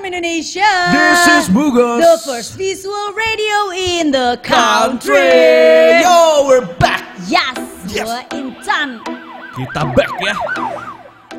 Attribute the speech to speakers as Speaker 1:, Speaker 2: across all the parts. Speaker 1: Indonesia.
Speaker 2: This is Bugos.
Speaker 1: The first visual radio in the
Speaker 2: Country.
Speaker 1: country.
Speaker 2: Yo, we're back.
Speaker 1: Yes,
Speaker 2: Yes.
Speaker 1: gua Intan.
Speaker 2: Kita back ya.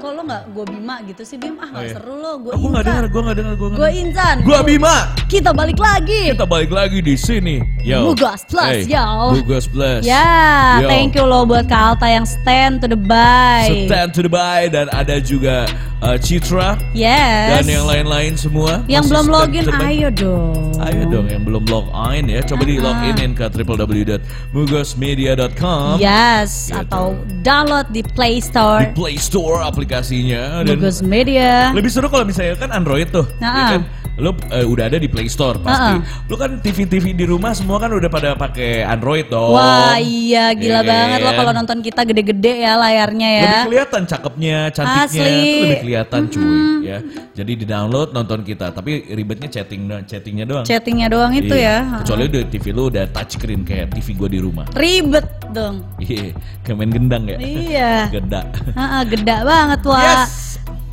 Speaker 1: Kok lo nggak gua Bima gitu sih Bim? Ah nggak
Speaker 2: Oh, iya.
Speaker 1: seru lo, gua
Speaker 2: Aku nggak
Speaker 1: Intan.
Speaker 2: dengar, gua nggak dengar, gua nggak
Speaker 1: Gua
Speaker 2: dengar.
Speaker 1: Intan.
Speaker 2: Gua Bima.
Speaker 1: Kita balik lagi.
Speaker 2: Kita balik lagi di sini. Yo.
Speaker 1: Bugos Plus,
Speaker 2: Hey,
Speaker 1: yo.
Speaker 2: Bugos Plus.
Speaker 1: Ya, thank you lo buat Kak Alta yang stand to the by.
Speaker 2: Stand to the by dan ada juga uh, Citra
Speaker 1: Yes.
Speaker 2: dan yang lain-lain semua.
Speaker 1: Yang
Speaker 2: Masih
Speaker 1: belum
Speaker 2: stand
Speaker 1: login,
Speaker 2: to the by.
Speaker 1: ayo Ah. dong.
Speaker 2: Ayo dong yang belum login ya, coba di login in ke www.mugosmedia.com.
Speaker 1: Ya, Yes,
Speaker 2: Gitu.
Speaker 1: atau download di Play
Speaker 2: Di
Speaker 1: Store.
Speaker 2: Play Store aplikasinya dan
Speaker 1: Bugos Media.
Speaker 2: Lebih seru kalau misalnya kan Android tuh,
Speaker 1: Nah,
Speaker 2: ya kan? Lo eh, udah ada di Play Store pasti. Lo kan TV-TV di rumah semua kan udah pada pakai Android dong.
Speaker 1: Wah iya gila
Speaker 2: Iya
Speaker 1: banget lo
Speaker 2: kan?
Speaker 1: kalau nonton kita gede-gede ya layarnya ya.
Speaker 2: Lebih kelihatan cakepnya, cantiknya,
Speaker 1: Asli.
Speaker 2: tuh lebih kelihatan cuy ya. Jadi di download nonton kita, tapi ribetnya chatting do- chattingnya doang.
Speaker 1: Chattingnya doang itu ya.
Speaker 2: Iya. Kecuali udah TV lo udah touchscreen kayak TV gue di rumah.
Speaker 1: Ribet dong.
Speaker 2: Iya, kayak main gendang ya.
Speaker 1: Iya.
Speaker 2: Gendak.
Speaker 1: Heeh, gede banget wah.
Speaker 2: Yes.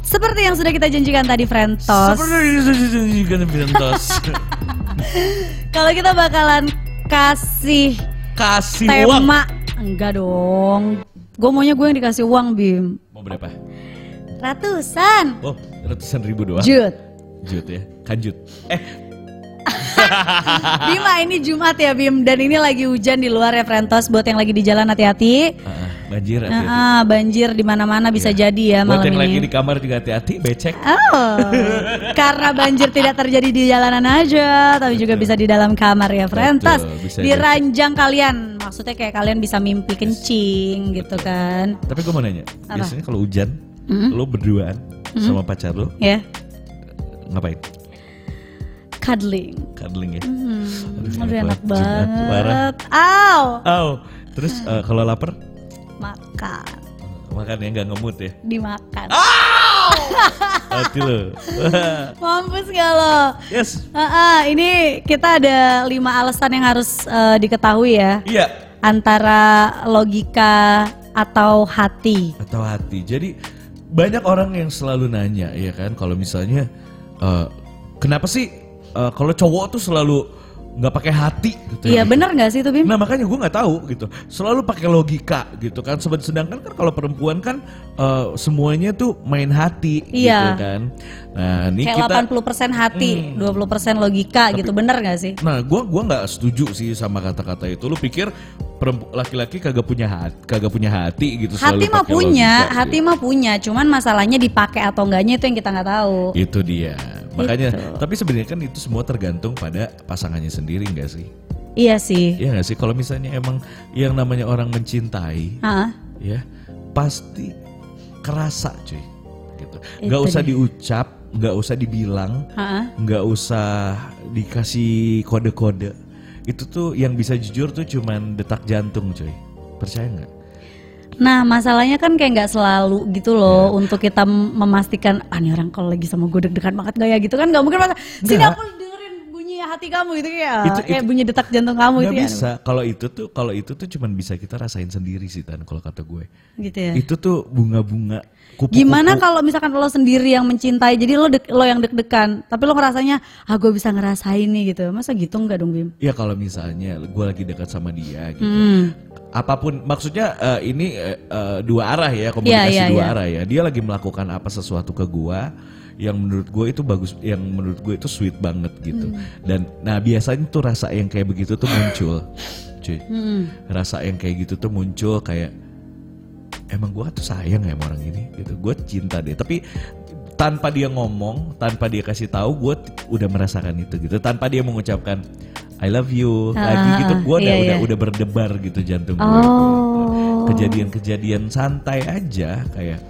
Speaker 1: Seperti yang sudah kita janjikan tadi Frentos.
Speaker 2: Seperti Ventos.
Speaker 1: Kalau kita bakalan kasih
Speaker 2: Kasih uang.
Speaker 1: tema enggak dong. Gue maunya gue yang dikasih uang Bim.
Speaker 2: Mau berapa?
Speaker 1: Ratusan.
Speaker 2: Oh, ratusan ribu doang.
Speaker 1: Jut.
Speaker 2: Jut ya, kanjut. Eh,
Speaker 1: Bima ini Jumat ya Bim dan ini lagi hujan di luar ya Frentos buat yang lagi di jalan hati-hati.
Speaker 2: ah, banjir
Speaker 1: Nah,
Speaker 2: hati-hati.
Speaker 1: ah, banjir di mana-mana bisa jadi ya malam
Speaker 2: Buat yang
Speaker 1: ini.
Speaker 2: Iya. lagi di kamar juga hati-hati, becek.
Speaker 1: Oh, karena banjir tidak terjadi di jalanan aja, tapi juga bisa di dalam kamar ya, Frentas.
Speaker 2: Betul, bisa
Speaker 1: Di
Speaker 2: jadi.
Speaker 1: ranjang kalian, maksudnya kayak kalian bisa mimpi kencing gitu kan,
Speaker 2: Tapi gue mau nanya,
Speaker 1: Apa?
Speaker 2: biasanya kalau hujan, lo berduaan sama pacar lo
Speaker 1: ya,
Speaker 2: ngapain?
Speaker 1: cuddling.
Speaker 2: Cuddling ya.
Speaker 1: Hmm,
Speaker 2: Aduh,
Speaker 1: aduh, enak
Speaker 2: enak banget. Jumat, parah.
Speaker 1: banget. Aw,
Speaker 2: Oh, terus eh, kalau lapar
Speaker 1: makan,
Speaker 2: makan ya nggak ngemut ya.
Speaker 1: dimakan.
Speaker 2: Hati lo.
Speaker 1: Mampus gak lo?
Speaker 2: yes.
Speaker 1: Ah, ah, ini kita ada lima alasan yang harus eh, diketahui ya.
Speaker 2: Iya.
Speaker 1: antara logika atau hati.
Speaker 2: Atau hati. Jadi banyak orang yang selalu nanya ya kan, kalau misalnya eh, kenapa sih eh, kalau cowok tuh selalu nggak pakai hati gitu ya.
Speaker 1: Iya benar nggak sih itu Bim?
Speaker 2: Nah makanya gue nggak tahu gitu. Selalu pakai logika gitu kan. Seben- Sedangkan kan kalau perempuan kan eh, semuanya tuh main hati gitu
Speaker 1: Iya.
Speaker 2: kan. Nah ini
Speaker 1: Kayak
Speaker 2: kita. Hmm.
Speaker 1: 80% hati, 20% logika gitu. Bener nggak sih?
Speaker 2: Nah gue gua nggak setuju sih sama kata-kata itu. Lu pikir perempu- laki-laki kagak punya hati, kagak punya hati gitu. selalu
Speaker 1: Hati mah
Speaker 2: pakai
Speaker 1: punya,
Speaker 2: logika,
Speaker 1: hati
Speaker 2: gitu.
Speaker 1: mah punya. Cuman masalahnya dipakai atau enggaknya itu yang kita nggak tahu.
Speaker 2: Itu dia. Makanya.
Speaker 1: Gitu.
Speaker 2: Tapi sebenarnya kan itu semua tergantung pada pasangannya sendiri nggak sih?
Speaker 1: Iya sih.
Speaker 2: Iya nggak sih. Kalau misalnya emang yang namanya orang mencintai,
Speaker 1: Ah,
Speaker 2: ya pasti kerasa cuy
Speaker 1: Itu
Speaker 2: gitu nggak usah
Speaker 1: dia.
Speaker 2: diucap nggak usah dibilang
Speaker 1: ah,
Speaker 2: nggak usah dikasih kode-kode itu tuh yang bisa jujur tuh cuman detak jantung cuy percaya nggak
Speaker 1: Nah masalahnya kan kayak nggak selalu gitu
Speaker 2: Iya.
Speaker 1: loh untuk kita m- memastikan ah ini orang kalau lagi sama gue deg-degan banget gak ya gitu kan nggak mungkin masa sini
Speaker 2: Nggak.
Speaker 1: aku dengerin bunyi hati kamu gitu ya
Speaker 2: Itu-
Speaker 1: kayak
Speaker 2: itu-
Speaker 1: bunyi detak jantung kamu
Speaker 2: nggak
Speaker 1: itu ya
Speaker 2: bisa kalau itu tuh kalau itu tuh cuman bisa kita rasain sendiri sih tan kalau kata gue
Speaker 1: gitu ya
Speaker 2: itu tuh bunga-bunga kupu-kupu
Speaker 1: Gimana kalau misalkan lo sendiri yang mencintai, jadi lo dek- lo yang deg-degan, tapi lo ngerasanya ah gue bisa ngerasain nih gitu. Masa gitu enggak dong Bim?
Speaker 2: ya kalau misalnya gue lagi dekat sama dia gitu
Speaker 1: Hmm.
Speaker 2: apapun maksudnya eh, ini eh, eh, dua arah ya komunikasi
Speaker 1: Iya, iya,
Speaker 2: dua
Speaker 1: iya.
Speaker 2: arah ya dia lagi melakukan apa sesuatu ke gua yang menurut gue itu bagus yang menurut gue itu sweet banget gitu
Speaker 1: Hmm.
Speaker 2: dan nah biasanya tuh rasa yang kayak begitu tuh muncul cuy
Speaker 1: Hmm.
Speaker 2: rasa yang kayak gitu tuh muncul kayak emang gua tuh sayang ya sama orang ini gitu gue cinta deh tapi tanpa dia ngomong tanpa dia kasih tahu gue udah merasakan itu gitu tanpa dia mengucapkan I love you lagi gitu gue udah,
Speaker 1: iya,
Speaker 2: udah
Speaker 1: iya.
Speaker 2: udah berdebar gitu jantung gitu. gue
Speaker 1: Oh.
Speaker 2: kejadian-kejadian santai aja kayak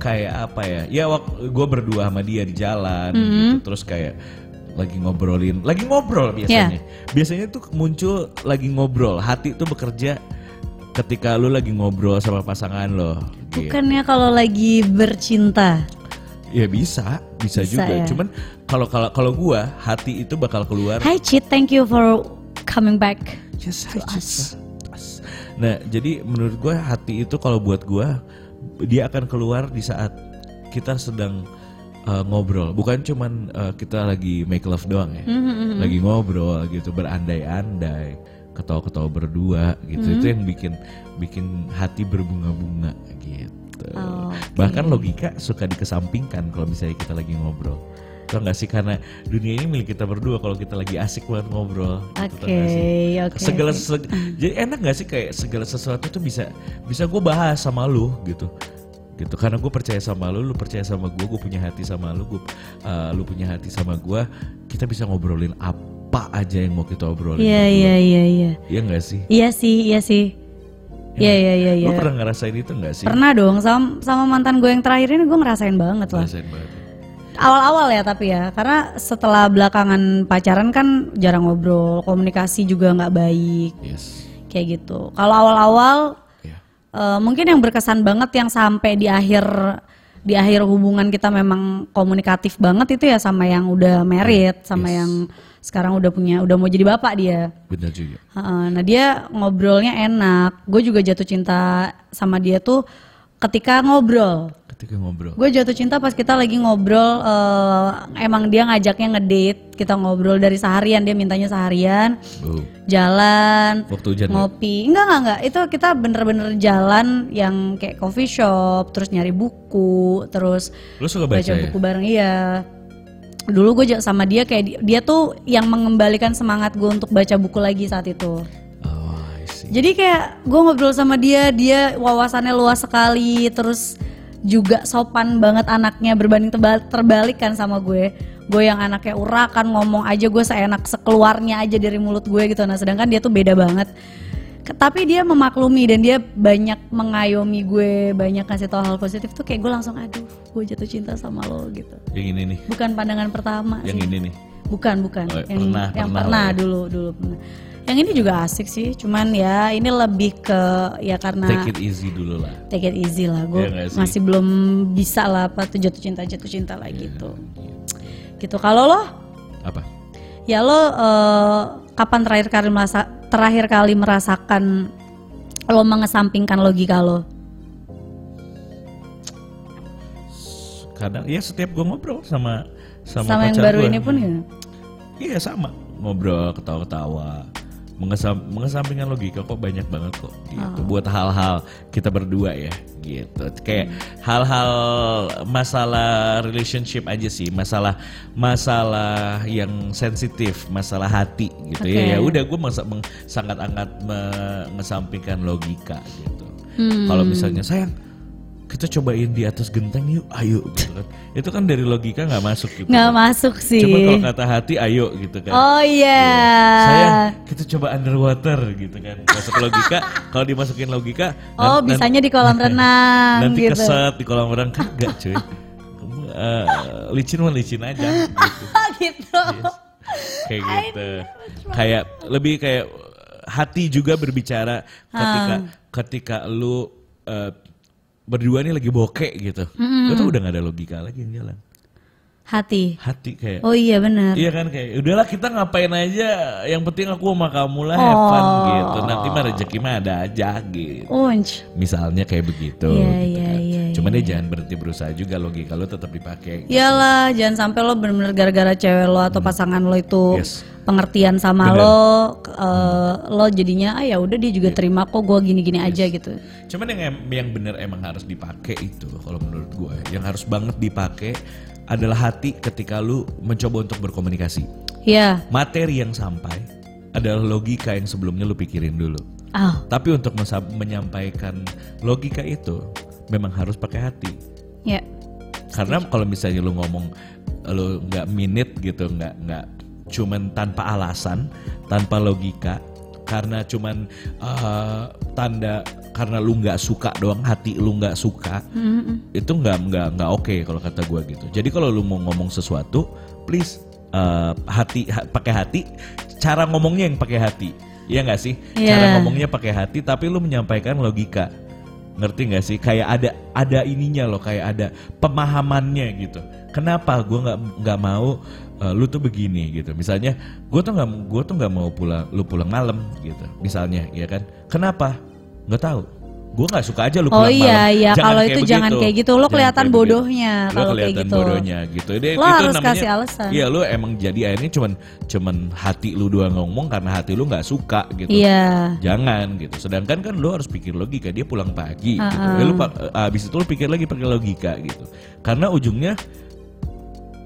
Speaker 2: kayak apa ya ya waktu gue berdua sama dia di jalan
Speaker 1: Mm-hmm.
Speaker 2: gitu terus kayak lagi ngobrolin lagi ngobrol biasanya biasanya tuh muncul lagi ngobrol hati tuh bekerja ketika lu lagi ngobrol sama pasangan lo gitu.
Speaker 1: Bukannya kalau lagi bercinta.
Speaker 2: ya bisa
Speaker 1: Bisa
Speaker 2: bisa, juga
Speaker 1: ya.
Speaker 2: cuman kalau kalau kalau gua hati itu bakal keluar
Speaker 1: Hi Cid, thank you for coming back.
Speaker 2: Yes, I just- us. Nah, jadi menurut gue hati itu kalau buat gue dia akan keluar di saat kita sedang eh, ngobrol, bukan cuman eh, kita lagi make love doang ya,
Speaker 1: Mhm, mhm.
Speaker 2: lagi ngobrol gitu, berandai-andai, ketawa-ketawa berdua gitu, itu
Speaker 1: Mm-hmm.
Speaker 2: yang bikin bikin hati berbunga-bunga gitu.
Speaker 1: Oke.
Speaker 2: Bahkan logika suka dikesampingkan kalau misalnya kita lagi ngobrol. Tau gak sih karena dunia ini milik kita berdua kalau kita lagi asik banget ngobrol. gitu, tau
Speaker 1: Oke,
Speaker 2: gak sih?
Speaker 1: oke.
Speaker 2: segala seg- jadi enak gak sih kayak segala sesuatu tuh bisa bisa gue bahas sama lu gitu gitu karena gue percaya sama lu lu percaya sama gue gue punya hati sama lu gue lu punya hati sama gue kita bisa ngobrolin apa aja yang mau kita obrolin
Speaker 1: Iya, iya, iya, iya.
Speaker 2: iya nggak sih
Speaker 1: Iya sih, iya sih. Iya, iya, iya, iya.
Speaker 2: lu pernah ngerasain itu nggak sih
Speaker 1: Pernah dong sama sama mantan gue yang terakhir ini gue ngerasain banget lah.
Speaker 2: ngerasain banget
Speaker 1: Awal-awal ya tapi ya, karena setelah belakangan pacaran kan jarang ngobrol, komunikasi juga nggak baik
Speaker 2: yes
Speaker 1: kayak gitu. Kalau awal-awal
Speaker 2: ya
Speaker 1: eh, mungkin yang berkesan banget yang sampai di akhir di akhir hubungan kita memang komunikatif banget itu ya sama yang udah married, sama yang sekarang udah punya udah mau jadi bapak dia.
Speaker 2: benar juga
Speaker 1: Heeh, Nah dia ngobrolnya enak. Gue juga jatuh cinta sama dia tuh ketika ngobrol.
Speaker 2: ketika ngobrol
Speaker 1: Gue jatuh cinta pas kita lagi ngobrol. eh, emang dia ngajaknya ngedate. Kita ngobrol dari seharian. Dia mintanya seharian.
Speaker 2: Oh,
Speaker 1: Jalan,
Speaker 2: waktu hujan ya?
Speaker 1: ngopi. Enggak enggak enggak. Itu kita bener-bener jalan yang kayak coffee shop. Terus nyari buku. Terus
Speaker 2: lu suka baca,
Speaker 1: baca
Speaker 2: ya
Speaker 1: buku bareng iya dulu gue sama dia kayak di- dia tuh yang mengembalikan semangat gue untuk baca buku lagi saat itu
Speaker 2: oh I see
Speaker 1: jadi kayak gue ngobrol sama dia, dia wawasannya luas sekali, terus juga sopan banget anaknya berbanding teba- terbalik kan sama gue. Gue yang anaknya urakan ngomong aja gue seenak sekeluarnya aja dari mulut gue gitu. Nah sedangkan dia tuh beda banget. Ke- Tapi dia memaklumi dan dia banyak mengayomi gue, banyak kasih tau hal positif tuh kayak gue langsung aduh gue jatuh cinta sama lo gitu.
Speaker 2: yang ini nih
Speaker 1: Bukan pandangan pertama
Speaker 2: yang
Speaker 1: sih.
Speaker 2: ini nih
Speaker 1: Bukan, bukan.
Speaker 2: Oh,
Speaker 1: yang
Speaker 2: pernah,
Speaker 1: yang
Speaker 2: pernah
Speaker 1: pernah,
Speaker 2: lah ya.
Speaker 1: dulu, dulu pernah. Yang ini juga asik sih, cuman ya ini lebih ke ya karena
Speaker 2: take it easy dulu lah
Speaker 1: take it easy lah. Gue
Speaker 2: Iya nggak sih?
Speaker 1: masih belum bisa lah apa tuh jatuh cinta, jatuh cinta lah gitu. Gitu. Kalau lo,
Speaker 2: Iya, apa
Speaker 1: ya lo eh, kapan terakhir kali merasa terakhir kali merasakan lo mengesampingkan logika lo?
Speaker 2: kadang ya setiap gue ngobrol sama sama,
Speaker 1: Sama yang
Speaker 2: pacar
Speaker 1: baru
Speaker 2: gua.
Speaker 1: ini pun gitu.
Speaker 2: iya sama ngobrol ketawa-ketawa mengesam, mengesampingkan logika kok banyak banget kok gitu
Speaker 1: Ah.
Speaker 2: buat hal-hal kita berdua ya gitu kayak hal-hal masalah relationship aja sih masalah masalah yang sensitif masalah hati gitu
Speaker 1: Oke.
Speaker 2: ya ya udah gue masa meng- sangat angkat mengesampingkan logika gitu
Speaker 1: Hmm.
Speaker 2: kalau misalnya sayang kita cobain di atas genteng yuk ayo gitu kan itu kan dari logika nggak masuk gitu
Speaker 1: Nggak masuk sih.
Speaker 2: Coba kalau kata hati ayo gitu kan.
Speaker 1: oh iya.
Speaker 2: Sayang, kita coba underwater gitu kan. Masuk logika, kalau dimasukin logika
Speaker 1: Oh,
Speaker 2: nan- nan-
Speaker 1: bisanya di kolam renang
Speaker 2: nanti
Speaker 1: gitu.
Speaker 2: keset di kolam renang kagak cuy. Kamu, eh, licin mah licin aja gitu.
Speaker 1: gitu.
Speaker 2: Kayak gitu. Kayak lebih kayak hati juga berbicara
Speaker 1: Ah.
Speaker 2: ketika ketika lu eh, berdua nih lagi bokek gitu. Itu udah gak ada logika lagi yang jalan.
Speaker 1: Hati.
Speaker 2: Hati kayak
Speaker 1: Oh iya benar.
Speaker 2: Iya kan kayak udahlah kita ngapain aja yang penting aku sama kamu lah have fun
Speaker 1: Oh.
Speaker 2: gitu. Nanti mah rezeki mah ada aja gitu.
Speaker 1: Unch.
Speaker 2: Misalnya kayak begitu
Speaker 1: Iya,
Speaker 2: gitu
Speaker 1: iya,
Speaker 2: kan.
Speaker 1: iya,
Speaker 2: Cuman ya jangan berhenti berusaha juga logika lo tetap dipakai.
Speaker 1: Iyalah, jangan sampai lo bener-bener gara-gara cewek lo atau pasangan lo itu
Speaker 2: Yes.
Speaker 1: pengertian sama lo, ke- eh, lo jadinya ah ya udah dia
Speaker 2: Iya.
Speaker 1: juga terima kok gue gini-gini aja gitu.
Speaker 2: Cuman yang em- yang benar emang harus dipakai itu kalau menurut gue. Yang harus banget dipakai adalah hati ketika lu mencoba untuk berkomunikasi.
Speaker 1: Iya.
Speaker 2: Materi yang sampai adalah logika yang sebelumnya lu pikirin dulu.
Speaker 1: Ah,
Speaker 2: Tapi untuk mesa- menyampaikan logika itu memang harus pakai hati.
Speaker 1: ya.
Speaker 2: Karena kalau misalnya lu ngomong lu nggak minit gitu, nggak nggak cuman tanpa alasan, tanpa logika, karena cuman eh, tanda karena lu nggak suka doang hati lu nggak suka
Speaker 1: Mm-mm.
Speaker 2: itu nggak nggak nggak oke kalau kata gua gitu. Jadi kalau lu mau ngomong sesuatu, please eh, hati ha- pakai hati. Cara ngomongnya yang pakai hati, Iya nggak sih? Cara
Speaker 1: Iya.
Speaker 2: ngomongnya pakai hati, tapi lu menyampaikan logika. Ngerti nggak sih? Kayak ada ada ininya loh, kayak ada pemahamannya gitu. Kenapa gua nggak nggak mau eh, lu tuh begini gitu. Misalnya, gua tuh nggak gua tuh iya nggak mau pulang lu pulang malam gitu. Misalnya, ya kan? Kenapa? Nggak tahu. gue nggak suka aja lu
Speaker 1: Oh
Speaker 2: pulang
Speaker 1: iya
Speaker 2: malam.
Speaker 1: iya
Speaker 2: Jangan
Speaker 1: kalau
Speaker 2: kayak
Speaker 1: itu jangan
Speaker 2: begitu.
Speaker 1: kayak gitu. Lo
Speaker 2: Jangan
Speaker 1: kelihatan
Speaker 2: kayak begitu.
Speaker 1: bodohnya
Speaker 2: Lo
Speaker 1: kalau kayak
Speaker 2: kelihatan
Speaker 1: gitu.
Speaker 2: bodohnya gitu. Dia-
Speaker 1: Lo harus kasih alasan.
Speaker 2: Iya lu emang jadi akhirnya cuman cuman hati lu doang ngomong karena hati lu nggak suka gitu.
Speaker 1: Iya.
Speaker 2: Jangan gitu. Sedangkan kan lu harus pikir logika. Dia pulang pagi. Gitu.
Speaker 1: Ah,
Speaker 2: Ya, lu pa- abis itu lu pikir lagi pakai logika gitu. Karena ujungnya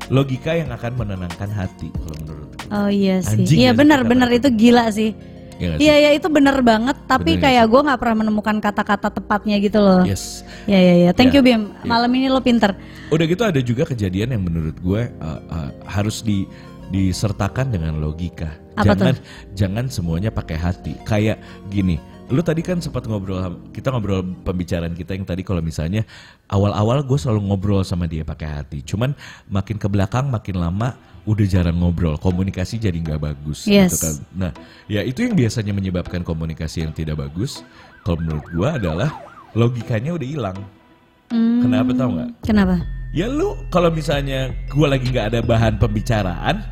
Speaker 2: logika yang akan menenangkan hati kalau menurut gue.
Speaker 1: Oh iya sih.
Speaker 2: Anjing
Speaker 1: Iya
Speaker 2: ya,
Speaker 1: benar
Speaker 2: kata-kata.
Speaker 1: benar itu gila sih.
Speaker 2: Iya nggak sih?
Speaker 1: Iya iya itu benar banget tapi
Speaker 2: Bener. ya?
Speaker 1: kayak gue nggak pernah menemukan kata-kata tepatnya gitu loh.
Speaker 2: Yes.
Speaker 1: Iya iya iya. Thank you
Speaker 2: Iya,
Speaker 1: Bim. Malam ini lo pinter.
Speaker 2: Udah gitu ada juga kejadian yang menurut gue uh, uh, harus di disertakan dengan logika.
Speaker 1: Apa
Speaker 2: jangan jangan semuanya pakai hati. Kayak gini, lu tadi kan sempat ngobrol sama- kita ngobrol pembicaraan kita yang tadi kalau misalnya awal-awal gue selalu ngobrol sama dia pakai hati. Cuman makin ke belakang makin lama udah jarang ngobrol, komunikasi jadi nggak bagus
Speaker 1: Yes.
Speaker 2: gitu kan. Nah, ya itu yang biasanya menyebabkan komunikasi yang tidak bagus kalau menurut gue adalah logikanya udah hilang.
Speaker 1: Hmm,
Speaker 2: Kenapa tau nggak?
Speaker 1: Kenapa?
Speaker 2: Ya lu kalau misalnya gua lagi nggak ada bahan pembicaraan,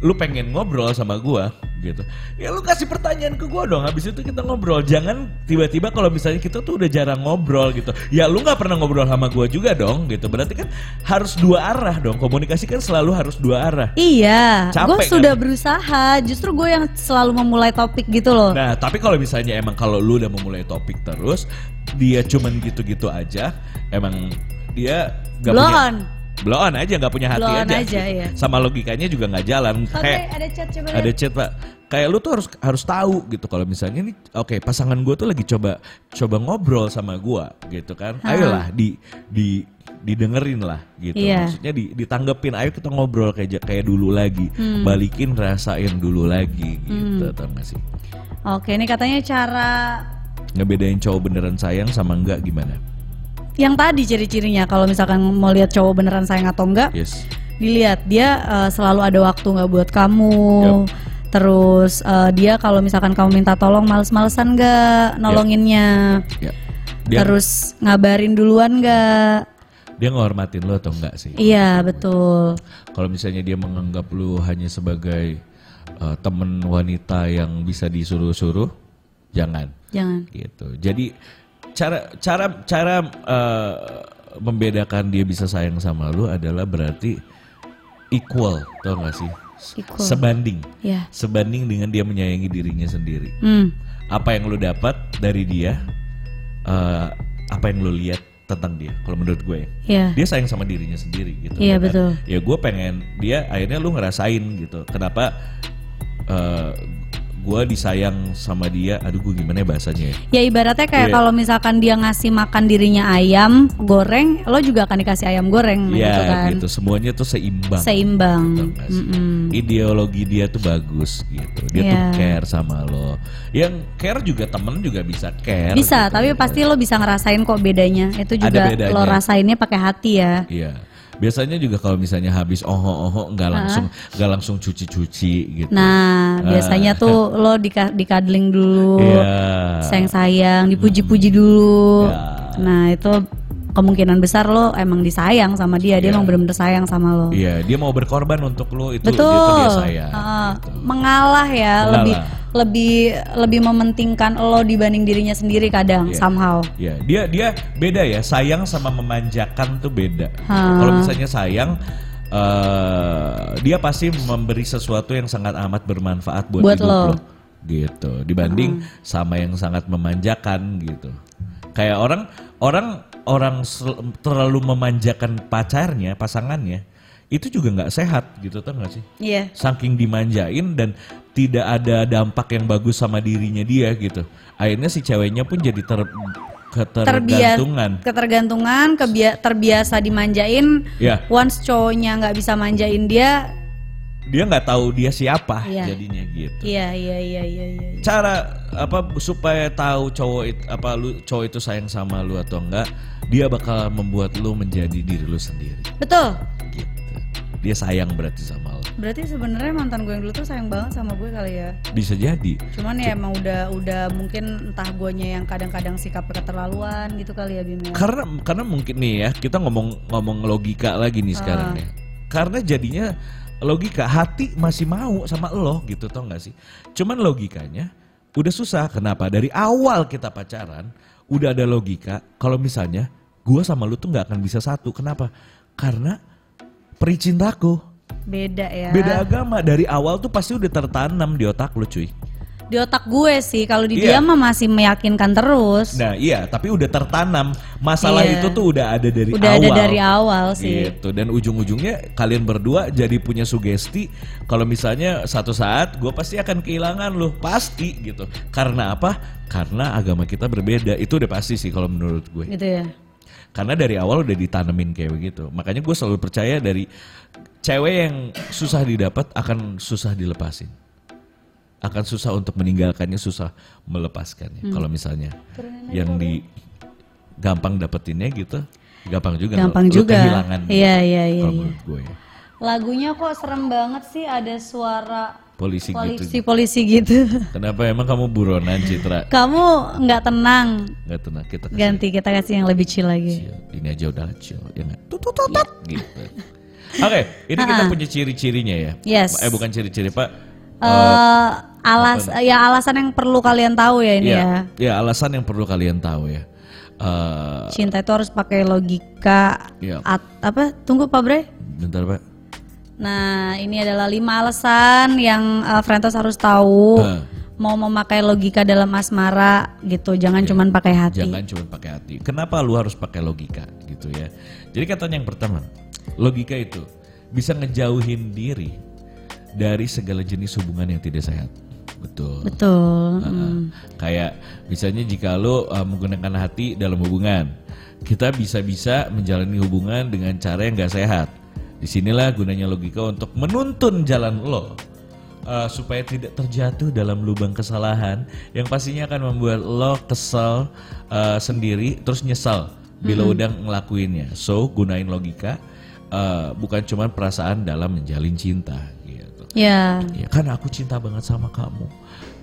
Speaker 2: lu pengen ngobrol sama gua gitu. Ya lu kasih pertanyaan ke gua dong. Habis itu kita ngobrol. Jangan tiba-tiba kalau misalnya kita tuh udah jarang ngobrol gitu. Ya lu nggak pernah ngobrol sama gua juga dong gitu. Berarti kan harus dua arah dong. Komunikasi kan selalu harus dua arah.
Speaker 1: Iya,
Speaker 2: Capek
Speaker 1: gue
Speaker 2: kan?
Speaker 1: sudah berusaha. Justru gue yang selalu memulai topik gitu loh.
Speaker 2: Nah, tapi kalau misalnya emang kalau lu udah memulai topik terus, dia cuman gitu-gitu aja, emang dia nggak
Speaker 1: Blow
Speaker 2: punya Eh.
Speaker 1: on.
Speaker 2: blow on aja nggak punya hati
Speaker 1: Blow on
Speaker 2: aja, gitu.
Speaker 1: aja, ya.
Speaker 2: sama logikanya juga nggak jalan
Speaker 1: Oke,
Speaker 2: kayak
Speaker 1: ada chat coba.
Speaker 2: ada chat pak kayak lu tuh harus harus tahu gitu kalau misalnya nih oke pasangan gue tuh lagi coba coba ngobrol sama gue gitu kan ayolah di di didengerin lah gitu
Speaker 1: Iya.
Speaker 2: maksudnya di, ditanggepin ayo kita ngobrol kayak ja- kayak dulu lagi balikin rasain dulu lagi gitu tau gak sih
Speaker 1: Oke, ini katanya cara
Speaker 2: ngebedain cowok beneran sayang sama enggak gimana
Speaker 1: yang tadi ciri-cirinya kalau misalkan mau lihat cowok beneran sayang atau enggak,
Speaker 2: yes
Speaker 1: dilihat dia eh, selalu ada waktu nggak buat kamu. Terus eh, dia kalau misalkan kamu minta tolong males-malesan nggak nolonginnya.
Speaker 2: ya dia
Speaker 1: Terus ngabarin duluan nggak?
Speaker 2: dia ngehormatin lo atau enggak sih
Speaker 1: Iya betul.
Speaker 2: kalau misalnya dia menganggap lu hanya sebagai uh, temen wanita yang bisa disuruh-suruh jangan
Speaker 1: Jangan.
Speaker 2: gitu jadi cara cara cara uh, membedakan dia bisa sayang sama lu adalah berarti equal tau gak sih
Speaker 1: Equal.
Speaker 2: sebanding
Speaker 1: Ya.
Speaker 2: sebanding dengan dia menyayangi dirinya sendiri
Speaker 1: Hmm.
Speaker 2: apa yang lu dapat dari dia uh, apa yang lu lihat tentang dia kalau menurut gue ya
Speaker 1: Ya.
Speaker 2: dia sayang sama dirinya sendiri gitu.
Speaker 1: Iya,
Speaker 2: ya kan?
Speaker 1: betul.
Speaker 2: Ya gue pengen dia akhirnya lu ngerasain gitu. Kenapa eh gue disayang sama dia? Aduh gue gimana ya bahasanya ya?
Speaker 1: Ya ibaratnya kayak
Speaker 2: Iya.
Speaker 1: kalau misalkan dia ngasih makan dirinya ayam goreng, lo juga akan dikasih ayam goreng
Speaker 2: Ya
Speaker 1: gitu kan.
Speaker 2: gitu. Semuanya tuh seimbang.
Speaker 1: Seimbang.
Speaker 2: Tau gak sih?
Speaker 1: Mm-mm.
Speaker 2: Ideologi dia tuh bagus gitu. Dia
Speaker 1: Iya.
Speaker 2: tuh care sama lo. Yang care juga temen juga bisa care.
Speaker 1: Bisa,
Speaker 2: gitu.
Speaker 1: tapi pasti lo bisa ngerasain kok bedanya. Itu
Speaker 2: Ada
Speaker 1: juga
Speaker 2: bedanya.
Speaker 1: lo rasainnya pakai hati ya.
Speaker 2: Iya. Biasanya juga kalau misalnya habis oho-oho nggak langsung nggak langsung cuci-cuci gitu.
Speaker 1: Nah, biasanya tuh lo dika- dikadling dulu,
Speaker 2: Iya.
Speaker 1: sayang-sayang, dipuji-puji dulu.
Speaker 2: Ya.
Speaker 1: Nah, itu kemungkinan besar lo emang disayang sama dia, dia emang bener-bener sayang sama lo.
Speaker 2: Iya, dia mau berkorban untuk lu itu
Speaker 1: Betul. Ah.
Speaker 2: itu dia sayang. gitu.
Speaker 1: Heeh, Mengalah ya,
Speaker 2: Mengalah.
Speaker 1: lebih lebih lebih mementingkan lo dibanding dirinya sendiri kadang somehow.
Speaker 2: Ya, dia dia beda ya. Sayang sama memanjakan tuh beda. Kalau misalnya sayang eh dia pasti memberi sesuatu yang sangat amat bermanfaat buat,
Speaker 1: Buat
Speaker 2: hidup
Speaker 1: lo.
Speaker 2: lo. Gitu. Dibanding sama yang sangat memanjakan gitu. Kayak orang orang orang sel- terlalu memanjakan pacarnya, pasangannya, itu juga nggak sehat gitu tuh nggak sih?
Speaker 1: Iya.
Speaker 2: saking dimanjain dan tidak ada dampak yang bagus sama dirinya dia gitu. Akhirnya si ceweknya pun jadi ter
Speaker 1: Terbiasa
Speaker 2: ketergantungan.
Speaker 1: ketergantungan, kebia- terbiasa dimanjain.
Speaker 2: Ya,
Speaker 1: Once cowoknya nggak bisa manjain dia,
Speaker 2: dia nggak tahu dia siapa
Speaker 1: Iya.
Speaker 2: jadinya gitu.
Speaker 1: iya iya iya iya iya.
Speaker 2: Cara apa supaya tahu cowok it- apa lu cowok itu sayang sama lu atau enggak, dia bakal membuat lu menjadi diri lu sendiri
Speaker 1: Betul.
Speaker 2: gitu. Dia sayang berarti sama lu.
Speaker 1: Berarti sebenarnya mantan gue yang dulu tuh sayang banget sama gue kali ya.
Speaker 2: Bisa jadi.
Speaker 1: Cuman ya emang udah udah mungkin entah guanya yang kadang-kadang sikapnya keterlaluan gitu kali ya Bim. ya.
Speaker 2: karena karena mungkin nih ya kita ngomong ngomong logika lagi
Speaker 1: Ah.
Speaker 2: nih sekarang ya karena jadinya logika hati masih mau sama lo gitu tau gak sih cuman logikanya udah susah. Kenapa? Dari awal kita pacaran udah ada logika kalau misalnya gua sama lu tuh nggak akan bisa satu. Kenapa? Karena pericintaku
Speaker 1: Beda ya.
Speaker 2: beda agama dari awal tuh pasti udah tertanam di otak lu cuy.
Speaker 1: Di otak gue sih kalau di dia
Speaker 2: Iya.
Speaker 1: mah masih meyakinkan terus.
Speaker 2: Nah iya, tapi udah tertanam masalah
Speaker 1: Iya.
Speaker 2: itu tuh udah ada dari
Speaker 1: Udah
Speaker 2: awal.
Speaker 1: ada dari awal sih.
Speaker 2: Gitu dan ujung-ujungnya kalian berdua jadi punya sugesti kalau misalnya satu saat gue pasti akan kehilangan loh pasti gitu. Karena apa? Karena agama kita berbeda itu udah pasti sih kalau menurut gue.
Speaker 1: Gitu ya.
Speaker 2: Karena dari awal udah ditanemin kayak begitu. Makanya gue selalu percaya dari cewek yang susah didapat akan susah dilepasin. Akan susah untuk meninggalkannya, susah melepaskannya.
Speaker 1: Hmm.
Speaker 2: Kalau misalnya yang di gampang dapetinnya gitu, gampang juga.
Speaker 1: Gampang
Speaker 2: lu
Speaker 1: juga.
Speaker 2: kehilangan. gitu.
Speaker 1: Iya, iya, iya,
Speaker 2: Kalau
Speaker 1: iya.
Speaker 2: menurut gue ya.
Speaker 1: Lagunya kok serem banget sih ada suara
Speaker 2: Polisi gitu.
Speaker 1: polisi-polisi gitu.
Speaker 2: Kenapa emang kamu buronan Citra?
Speaker 1: Kamu nggak tenang.
Speaker 2: Gak tenang kita kasih
Speaker 1: Ganti kita kasih yang lebih chill lagi.
Speaker 2: chill. Ini aja udah chill. Ya nggak? Tut, tut, tut, tut. Gitu. Oke, ini kita punya ciri-cirinya ya.
Speaker 1: Yes.
Speaker 2: Eh bukan ciri-ciri pak.
Speaker 1: eh alas ya alasan yang perlu kalian tahu ya ini ya.
Speaker 2: Ya, ya alasan yang perlu kalian tahu ya. Eh,
Speaker 1: Cinta itu harus pakai logika.
Speaker 2: Iya.
Speaker 1: at- apa? Tunggu Pak Bre.
Speaker 2: bentar pak.
Speaker 1: Nah, ini adalah lima alasan yang eh, Frentos harus tahu
Speaker 2: Eh.
Speaker 1: mau memakai logika dalam asmara gitu. Jangan cuman pakai hati.
Speaker 2: Jangan cuma pakai hati. Kenapa lu harus pakai logika gitu ya? Jadi katanya yang pertama, logika itu bisa ngejauhin diri dari segala jenis hubungan yang tidak sehat. Betul.
Speaker 1: Betul. mm.
Speaker 2: Kayak misalnya jika lo uh, menggunakan hati dalam hubungan, kita bisa-bisa menjalani hubungan dengan cara yang gak sehat. Disinilah gunanya logika untuk menuntun jalan lo uh, supaya tidak terjatuh dalam lubang kesalahan yang pastinya akan membuat lo kesel uh, sendiri terus nyesel bila udah ngelakuinnya. So gunain logika uh, bukan cuma perasaan dalam menjalin cinta gitu.
Speaker 1: Ya.
Speaker 2: Ya kan aku cinta banget sama kamu.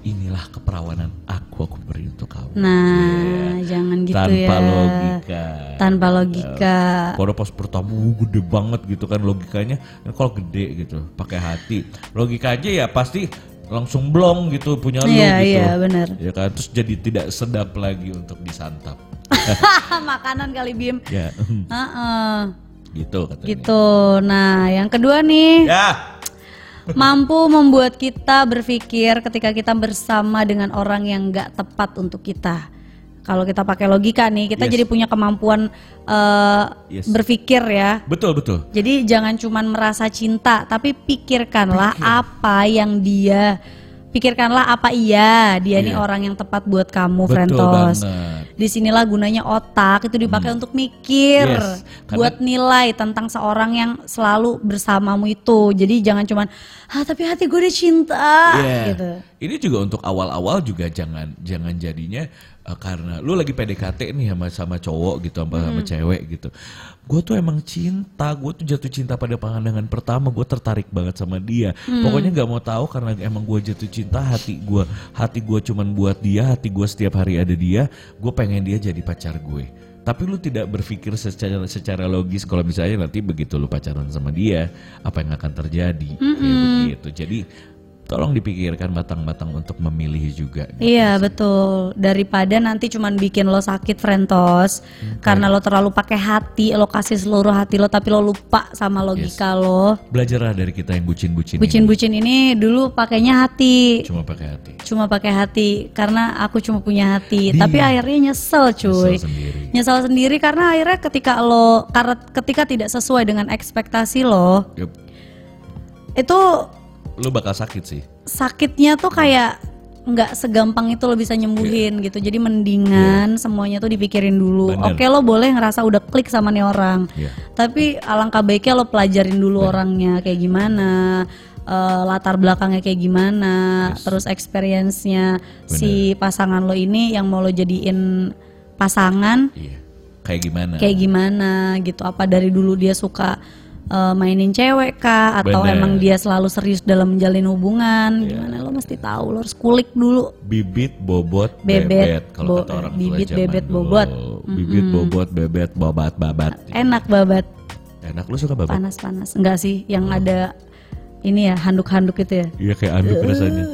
Speaker 2: Inilah keperawanan aku aku beri untuk kamu.
Speaker 1: Nah, jangan gitu ya.
Speaker 2: Iya. Tanpa logika.
Speaker 1: Tanpa logika.
Speaker 2: Kalau pas pertama "Uh, gede banget gitu kan logikanya. Kan Kalau gede gitu pakai hati. Logika aja ya pasti langsung blong gitu punya lu
Speaker 1: Iya,
Speaker 2: gitu.
Speaker 1: iya, benar.
Speaker 2: Ya kan terus jadi tidak sedap lagi untuk disantap.
Speaker 1: Makanan kali Bim.
Speaker 2: Ya
Speaker 1: Heeh.
Speaker 2: gitu katanya.
Speaker 1: Gitu. Nah, yang kedua nih
Speaker 2: Ya.
Speaker 1: mampu membuat kita berpikir ketika kita bersama dengan orang yang nggak tepat untuk kita. Kalau kita pakai logika nih, kita jadi punya kemampuan eh,
Speaker 2: Yes.
Speaker 1: berpikir ya.
Speaker 2: Betul betul.
Speaker 1: Jadi jangan cuman merasa cinta, tapi pikirkanlah apa yang dia pikirkanlah apa iya dia nih orang yang tepat buat kamu,
Speaker 2: Betul
Speaker 1: Frentos.
Speaker 2: banget.
Speaker 1: Disinilah gunanya otak itu dipakai untuk mikir,
Speaker 2: Hmm. Yes, karena-
Speaker 1: buat nilai tentang seorang yang selalu bersamamu itu. Jadi jangan cuman, ah tapi hati gue udah cinta,
Speaker 2: Iya.
Speaker 1: gitu.
Speaker 2: Ini juga untuk awal-awal juga jangan jangan jadinya eh, karena lu lagi PDKT nih sama sama cowok gitu sama sama cewek gitu. Gue tuh emang cinta, gue tuh jatuh cinta pada pandangan pertama, gue tertarik banget sama dia. Pokoknya nggak mau tahu karena emang gue jatuh cinta hati gue, hati gue cuman buat dia, hati gue setiap hari ada dia, gue pengen dia jadi pacar gue. Tapi lu tidak berpikir secara secara logis kalau misalnya nanti begitu lu pacaran sama dia, apa yang akan terjadi? Kayak begitu. Jadi tolong dipikirkan matang-matang untuk memilih juga.
Speaker 1: Iya betul. Daripada nanti cuman bikin lo sakit Frentos karena lo terlalu pakai hati, lo kasih seluruh hati lo tapi lo lupa sama logika lo.
Speaker 2: Belajarlah dari kita yang bucin-bucin. ini.
Speaker 1: Bucin-bucin ini dulu pakainya hati.
Speaker 2: Cuma pakai hati.
Speaker 1: Cuma pakai hati karena aku cuma punya hati, tapi akhirnya nyesel cuy.
Speaker 2: Iya. Nyesel sendiri.
Speaker 1: Nyesel sendiri karena akhirnya ketika lo karena ketika tidak sesuai dengan ekspektasi lo,
Speaker 2: Yup.
Speaker 1: itu
Speaker 2: Lu bakal sakit sih.
Speaker 1: sakitnya tuh kayak nggak segampang itu lo bisa nyembuhin gitu. Jadi mendingan semuanya tuh dipikirin dulu.
Speaker 2: Bener.
Speaker 1: Oke lo boleh ngerasa udah klik sama nih orang,
Speaker 2: Iya.
Speaker 1: tapi alangkah baiknya lo pelajarin dulu orangnya kayak gimana. eh, latar belakangnya kayak gimana, terus experience-nya si pasangan lo ini yang mau lo jadiin pasangan
Speaker 2: Iya. Kayak gimana?
Speaker 1: kayak gimana gitu apa dari dulu dia suka eh, mainin cewek kah atau
Speaker 2: Bener. Iya.
Speaker 1: emang dia selalu serius dalam menjalin hubungan gimana lo mesti tahu lo harus kulik dulu
Speaker 2: Bibit, bobot,
Speaker 1: Bebet,
Speaker 2: bebet. Kalau
Speaker 1: bo-
Speaker 2: kata orang
Speaker 1: bibit,
Speaker 2: tua zaman
Speaker 1: bebet,
Speaker 2: dulu.
Speaker 1: bobot.
Speaker 2: Bibit, bobot, bebet, bobat, babat.
Speaker 1: enak babat
Speaker 2: Enak lu suka babat?
Speaker 1: panas-panas enggak sih yang ada ini ya handuk-handuk itu ya
Speaker 2: Iya kayak anduk rasanya.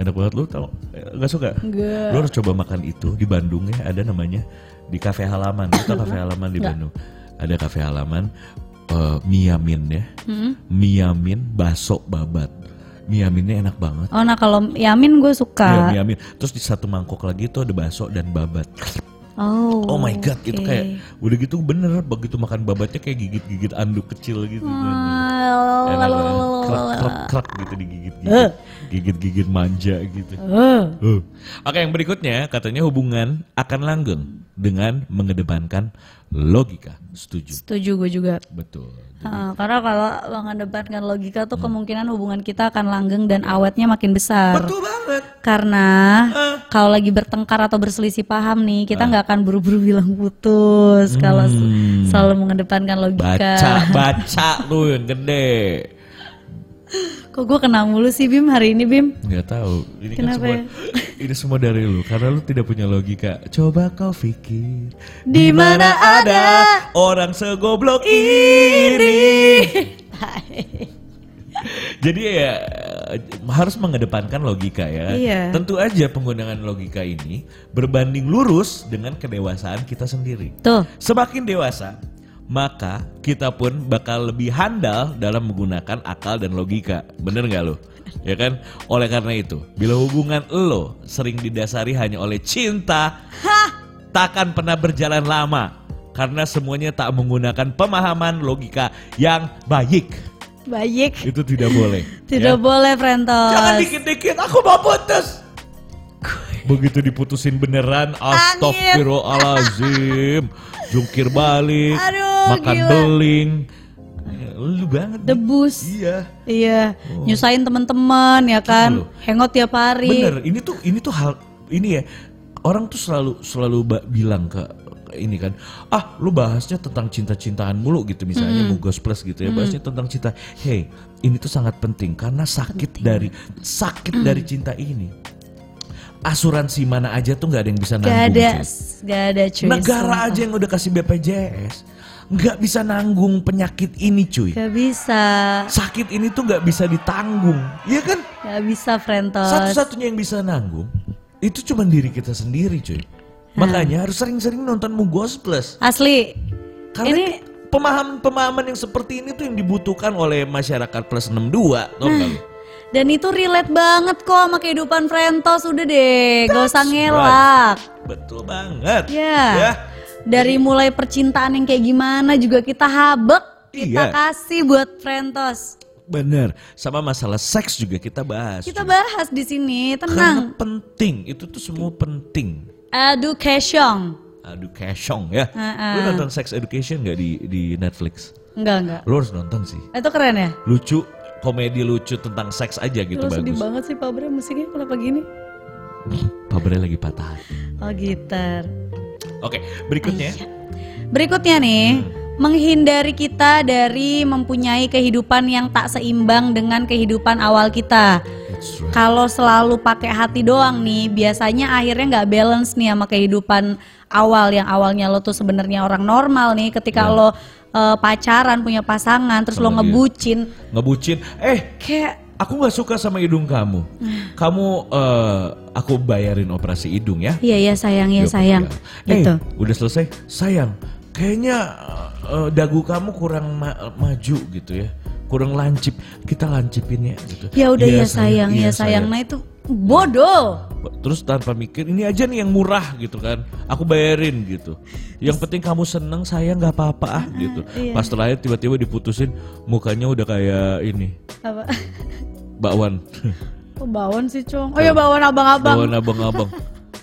Speaker 2: enak banget lu tau nggak suka
Speaker 1: Nggak.
Speaker 2: lu harus coba makan itu di Bandung ya ada namanya di kafe halaman lu tau kafe halaman di Bandung ada kafe halaman eh, miamin ya miamin baso babat miaminnya enak banget
Speaker 1: Oh nah kalau Yamin gue
Speaker 2: Iya,
Speaker 1: suka.
Speaker 2: miamin terus di satu mangkok lagi tuh ada baso dan babat
Speaker 1: Oh.
Speaker 2: oh my god itu
Speaker 1: oke.
Speaker 2: kayak udah gitu bener begitu makan babatnya kayak gigit-gigit anduk kecil gitu
Speaker 1: Ah,
Speaker 2: enak banget. Krek,
Speaker 1: lalalala.
Speaker 2: krek, krek gitu digigit-gigit. Gigit-gigit manja gitu.
Speaker 1: Eh,
Speaker 2: Huh. Oke, yang berikutnya katanya hubungan akan langgeng dengan mengedepankan logika. Setuju.
Speaker 1: Setuju gue juga.
Speaker 2: Betul.
Speaker 1: Ah, karena kalau mengedepankan logika tuh
Speaker 2: Hmm.
Speaker 1: kemungkinan hubungan kita akan langgeng dan awetnya makin besar.
Speaker 2: Betul Eh. banget.
Speaker 1: Karena kalau lagi bertengkar atau berselisih paham nih,
Speaker 2: Eh.
Speaker 1: kita nggak akan buru-buru bilang putus kalau s- selalu mengedepankan
Speaker 2: Hmm. Baca,
Speaker 1: logika.
Speaker 2: baca lu yang gede.
Speaker 1: Kok gue kena mulu sih Bim hari ini Bim?
Speaker 2: Nggak tahu. Ini
Speaker 1: Kenapa ya?
Speaker 2: kan semua ini semua dari lu karena lu tidak punya logika. Coba kau pikir
Speaker 1: Di mana ada
Speaker 2: orang segoblok ini. Jadi ya eh, harus mengedepankan logika ya.
Speaker 1: Iya.
Speaker 2: Tentu aja penggunaan logika ini berbanding lurus dengan kedewasaan kita sendiri.
Speaker 1: Tuh,
Speaker 2: Semakin dewasa, maka kita pun bakal lebih handal dalam menggunakan akal dan logika. Bener nggak lo? Ya kan? Oleh karena itu, bila hubungan lo sering didasari hanya oleh cinta, takkan pernah berjalan lama. Karena semuanya tak menggunakan pemahaman logika yang baik.
Speaker 1: baik.
Speaker 2: Itu tidak boleh. Ya?
Speaker 1: Tidak boleh Frentos.
Speaker 2: Jangan dikit-dikit, aku mau putus. Begitu diputusin beneran, astagfirullahalazim. Jungkir balik,
Speaker 1: Aduh,
Speaker 2: makan
Speaker 1: gila.
Speaker 2: beling. Ya, Lu banget. nih.
Speaker 1: Debus.
Speaker 2: Iya.
Speaker 1: Iya, nyusahin teman-teman ya kan.
Speaker 2: Oh. Gitu Loh.
Speaker 1: Hangout tiap hari.
Speaker 2: Bener, ini tuh ini tuh hal ini ya. Orang tuh selalu selalu ba- bilang ke ke ini kan, ah lu bahasnya tentang cinta-cintaan mulu gitu misalnya Mugos Plus gitu ya, bahasnya tentang cinta. Hey, ini tuh sangat penting Mm. karena sakit dari sakit dari cinta ini. Asuransi mana aja tuh nggak ada yang bisa
Speaker 1: Gak
Speaker 2: nanggung.
Speaker 1: ada,
Speaker 2: cuy.
Speaker 1: gak ada cuy.
Speaker 2: Negara aja yang udah kasih BPJS nggak bisa nanggung penyakit ini cuy.
Speaker 1: Gak bisa,
Speaker 2: Sakit ini tuh nggak bisa ditanggung, iya kan?
Speaker 1: gak bisa Frentos.
Speaker 2: Satu-satunya yang bisa nanggung itu cuma diri kita sendiri, cuy. Makanya harus sering-sering nonton Mugos Plus.
Speaker 1: Asli.
Speaker 2: Karena
Speaker 1: Ini-
Speaker 2: pemahaman-pemahaman yang seperti ini tuh yang dibutuhkan oleh masyarakat plus 62, tau nggak lu?
Speaker 1: Dan itu relate banget kok sama kehidupan Frentos udah deh, gak usah ngelak.
Speaker 2: Betul banget.
Speaker 1: Ya.
Speaker 2: Ya.
Speaker 1: Dari mulai percintaan yang kayak gimana juga kita habek, kita
Speaker 2: Iya.
Speaker 1: kasih buat Frentos.
Speaker 2: Bener. Sama masalah seks juga kita bahas.
Speaker 1: Kita bahas di sini,
Speaker 2: Karena
Speaker 1: tenang.
Speaker 2: penting, itu tuh semua penting.
Speaker 1: Education.
Speaker 2: Education ya. Lu nonton Sex Education nggak di di Netflix?
Speaker 1: Enggak, enggak.
Speaker 2: Lu harus nonton sih.
Speaker 1: Itu keren ya?
Speaker 2: lucu komedi lucu tentang seks aja gitu
Speaker 1: Lu sedih
Speaker 2: bagus.
Speaker 1: banget sih Pak Bre musiknya kenapa gini?
Speaker 2: Pabre lagi patah hati.
Speaker 1: Oh gitar.
Speaker 2: Oke, berikutnya.
Speaker 1: Iya. Berikutnya nih, menghindari kita dari mempunyai kehidupan yang tak seimbang dengan kehidupan awal kita.
Speaker 2: That's right.
Speaker 1: Kalau selalu pakai hati doang nih, biasanya akhirnya nggak balance nih sama kehidupan awal yang awalnya lo tuh sebenarnya orang normal nih, ketika lo eh, pacaran punya pasangan, terus lo
Speaker 2: Sama dia.
Speaker 1: ngebucin,
Speaker 2: Ngebucin, eh
Speaker 1: kayak
Speaker 2: aku nggak suka sama hidung kamu. Kamu eh, aku bayarin operasi hidung ya.
Speaker 1: iya ya sayang ya
Speaker 2: Yuk,
Speaker 1: sayang,
Speaker 2: ya. Eh,
Speaker 1: gitu.
Speaker 2: udah selesai. Sayang, kayaknya eh, dagu kamu kurang ma- maju gitu ya. Kurang lancip. Kita lancipin ya gitu.
Speaker 1: Ya udah ya
Speaker 2: Iya,
Speaker 1: sayang, ya
Speaker 2: iya,
Speaker 1: sayang. Nah itu bodoh.
Speaker 2: terus tanpa mikir ini aja nih yang murah gitu kan aku bayarin gitu yang penting kamu seneng saya nggak apa-apa ah gitu pas terakhir tiba-tiba diputusin mukanya udah kayak ini
Speaker 1: Apa?
Speaker 2: bakwan
Speaker 1: Oh, bawon sih, Cung. Oh ya bawon abang-abang.
Speaker 2: bakwan abang-abang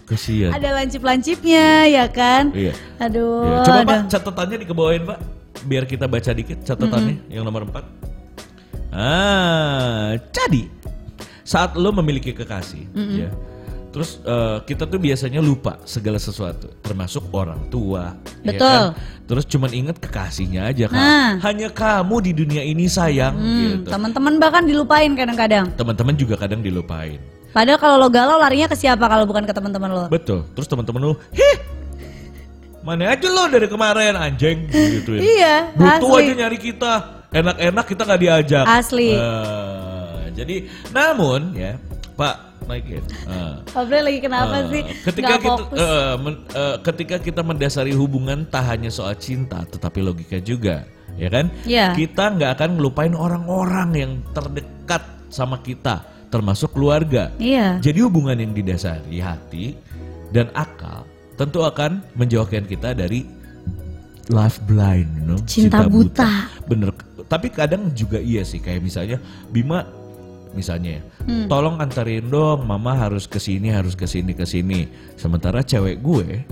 Speaker 2: kesian
Speaker 1: ada lancip-lancipnya ya kan
Speaker 2: iya
Speaker 1: aduh
Speaker 2: Iya. coba pak
Speaker 1: aduh.
Speaker 2: catatannya dikebawain pak biar kita baca dikit catatannya yang nomor 4 ah jadi saat lo memiliki kekasih ya terus eh, kita tuh biasanya lupa segala sesuatu termasuk orang tua ya
Speaker 1: Betul.
Speaker 2: kan? terus cuman inget kekasihnya aja kan
Speaker 1: Nah.
Speaker 2: hanya kamu di dunia ini sayang
Speaker 1: Hmm,
Speaker 2: gitu
Speaker 1: teman-teman bahkan dilupain kadang-kadang
Speaker 2: teman-teman juga kadang dilupain
Speaker 1: padahal kalau lo galau larinya ke siapa kalau bukan ke teman-teman lo
Speaker 2: betul terus teman-teman lo hih mana aja lo dari kemarin anjing gitu
Speaker 1: iya
Speaker 2: Butuh
Speaker 1: asli
Speaker 2: aja Nah. nyari kita. Enak-enak kita nggak diajak.
Speaker 1: Asli.
Speaker 2: Eh, jadi, namun ya Pak like it. Uh.
Speaker 1: Fabri lagi kenapa
Speaker 2: Eh,
Speaker 1: sih?
Speaker 2: Ketika
Speaker 1: Nggak
Speaker 2: kita
Speaker 1: fokus.
Speaker 2: eh, men- eh, ketika kita mendasari hubungan tak hanya soal cinta tetapi logika juga, ya kan?
Speaker 1: Iya.
Speaker 2: Kita nggak akan ngelupain orang-orang yang terdekat sama kita, termasuk keluarga.
Speaker 1: Iya.
Speaker 2: Jadi hubungan yang didasari hati dan akal tentu akan menjauhkan kita dari life blind, you know?
Speaker 1: Cinta
Speaker 2: Bener. Tapi kadang juga iya sih kayak misalnya Bima misalnya ya, tolong antarin dong mama harus ke sini harus ke sini ke sini. Sementara cewek gue